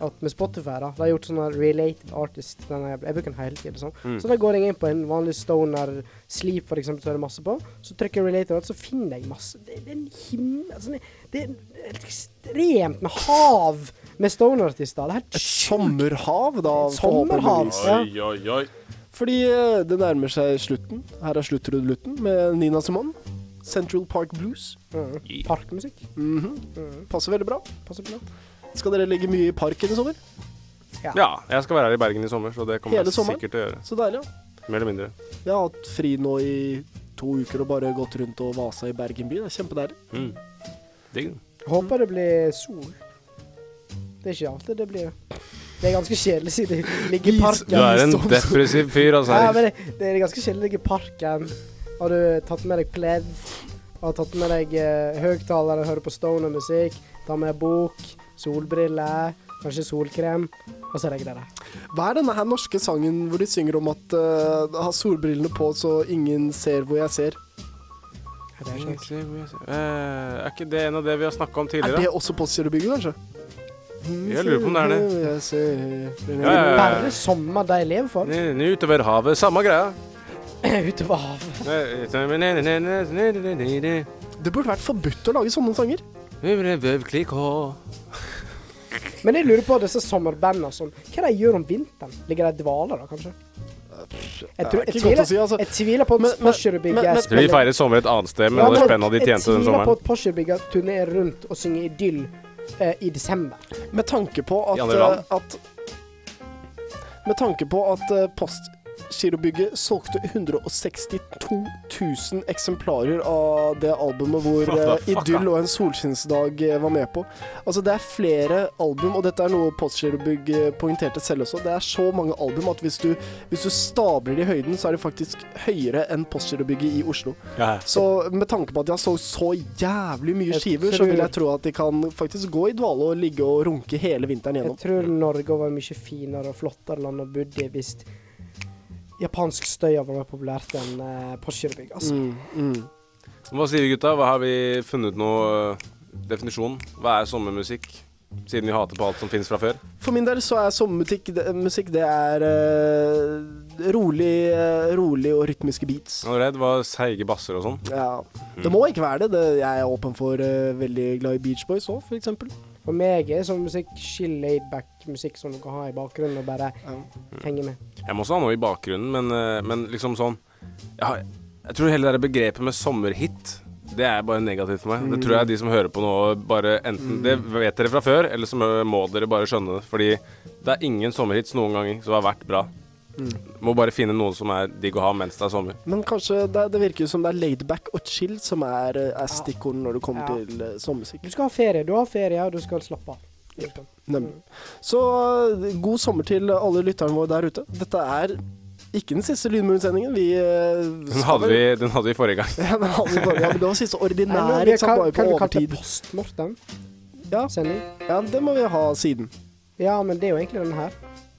E: at med Spotify da, de har gjort sånne related artist, den jeg, jeg bruker den hele tiden sånn.
D: Mm.
E: Så da går jeg inn på en vanlig stoner, sleep for eksempel, så er det masse på, så trykker jeg related artist, så finner jeg masse, det, det er en himmel, altså, det- det er helt ekstremt med hav med stoner artister, det er helt
C: Et sommerhav, da?
E: sommerhav.
C: forhåpentligvis.
E: Ja.
D: Oi, oi, oi.
C: Fordi eh, det nærmer seg slutten. Her er sluttrudelutten med Nina Simone. Central Park Blues.
E: Mm. Parkmusikk,
C: Passer veldig bra.
E: passer på det.
C: Skal dere ligge mye i parken i sommer?
D: Ja, jeg skal være her i Bergen i sommer, så det kommer
C: Hele
D: jeg
C: sommeren?
D: sikkert til å gjøre.
C: Så deilig. ja.
D: Mer eller mindre.
C: Jeg har hatt fri nå i to uker og bare gått rundt og vasa i Bergen by. Det er kjempedeilig.
D: Digg.
E: Håper det blir sol. Det er ikke alltid det blir det. Det er ganske kjedelig siden det ligger i parken.
D: Du er en
E: Stå-
D: depressiv fyr, altså.
E: Ja, men det, det er ganske kjedelig å ligge i parken. Har du tatt med deg pledd? Har tatt med deg eh, høyttaler og hører på stoner-musikk? Ta med bok, solbriller, kanskje solkrem, og så legger dere deg.
C: Hva er denne her norske sangen hvor de synger om at uh, ha solbrillene på så ingen ser hvor jeg ser?
E: Ja, det er ikke-
D: Eh, er ikke det en av det vi har snakka om
C: Er
D: tidligere?
C: det også Postgirobygget, kanskje?
D: Jeg lurer på om det er det.
C: Jeg ser-
D: Ja, ja, ja.
E: Bare sommer de lever for.
D: N- n- Utover havet, samme greia.
E: Ute ved havet.
C: Det burde vært forbudt å lage sånne sanger.
E: Men jeg lurer på disse sommerbandene som Hva de gjør om vinteren? Ligger de i dvale, da, kanskje? Jeg, tror,
C: det er
E: jeg,
C: ikke godt
E: tviler,
C: å si, altså.
E: jeg tviler
C: Men- men-
E: på at
C: men- men-
E: Porsgrunn-bygget
D: Jeg tror vi feirer sommer et annet sted, men
E: Ja,
D: alle
E: men
D: spenna de tjente den
E: Jeg tviler på
D: sommeren.
E: at Porsgrunn-bygget turnerer rundt og synger idyll eh, i desember.
C: Med tanke på
D: I
C: at,
D: andre land.
C: eh, at Med tanke på at eh, Postgirobygget solgte 162 000 eksemplarer av det albumet hvor eh,
D: What the fuck,
C: Idyll og en solskinnsdag eh, var med på. Altså, det er flere album, og dette er noe Postgirobygget poengterte selv også. Det er så mange album at hvis du, hvis du stabler det i høyden, så er det faktisk høyere enn Postgirobygget i Oslo.
D: Ja.
C: Så med tanke på at de har solgt så jævlig mye
E: Jeg
C: skiver, så
E: tror-
C: vil jeg tro at de kan faktisk gå i dvale og ligge og runke hele vinteren
E: Jeg
C: gjennom.
E: tror Norge var mye finere og flottere land å bo i hvis japansk støy var mer populært enn eh, Porsgrunn-bygget. Altså.
C: Mm.
D: Hva sier vi, gutta? Hva har vi funnet noe eh, definisjon? Hva er sommermusikk? Siden vi hater på alt som finnes fra før.
C: For min del så er sommermusikk det, musikk, det er eh, rolig, eh, rolig og rytmiske beats.
D: Allerede var seige basser og sånn.
C: Ja. Det må ikke være det. det jeg er åpen for eh, veldig glad i Beach Boys òg, for eksempel.
E: For meg er sånn musikk chill laid-back musikk som du kan ha i bakgrunnen og bare henge med.
D: Jeg må også ha noe i bakgrunnen, men, eh, men liksom sånn jeg, har, jeg tror hele det der begrepet med sommerhit det er bare negativt for meg. Det tror jeg de som hører på nå, bare enten Det vet dere fra før, eller så må- må dere bare skjønne det. Fordi det er ingen sommerhits noen ganger som har vært bra. Må bare finne noe som er digg å ha mens det er sommer.
C: Men kanskje det, det virker jo som det er laidback og chill som er, eh, er stikkord når det kommer
E: Ja.
C: til eh, sommermusikk.
E: Du skal ha ferie. Du har ferie, og du skal slappe av. Liksom.
C: Nemlig. Så eh, god sommer til alle lytterne våre der ute. Dette er ikke den siste Lydmuren-sendingen. Vi eh,
D: Den
C: skal
D: hadde
C: vel-
D: vi, den hadde vi forrige gang.
C: Ja, den hadde vi bare, ja, men det var siste
E: Nei, nå,
C: ordinære.
E: vi
C: ikke sant?
E: kan,
C: Bare
E: kan
C: på
E: du kalle det
C: overtid.
E: postmortem?
C: Ja.
E: Sending?
C: Ja, det må vi ha siden.
E: Ja, men det er jo egentlig den her.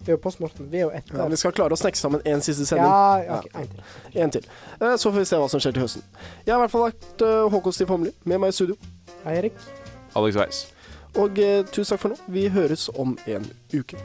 E: Det er jo postmortem. Vi er jo etter.
C: Ja, vi skal klare å snekke sammen én siste sending.
E: Ja, ja, ok, en til.
C: En til. Eh, Så får vi se hva som skjer til høsten. Jeg har i hvert fall lagt eh, Håkon Stiv Homli med meg i studio.
E: Eirik.
D: Alex Weiss.
C: Og eh, tusen takk for nå. Vi høres om en uke.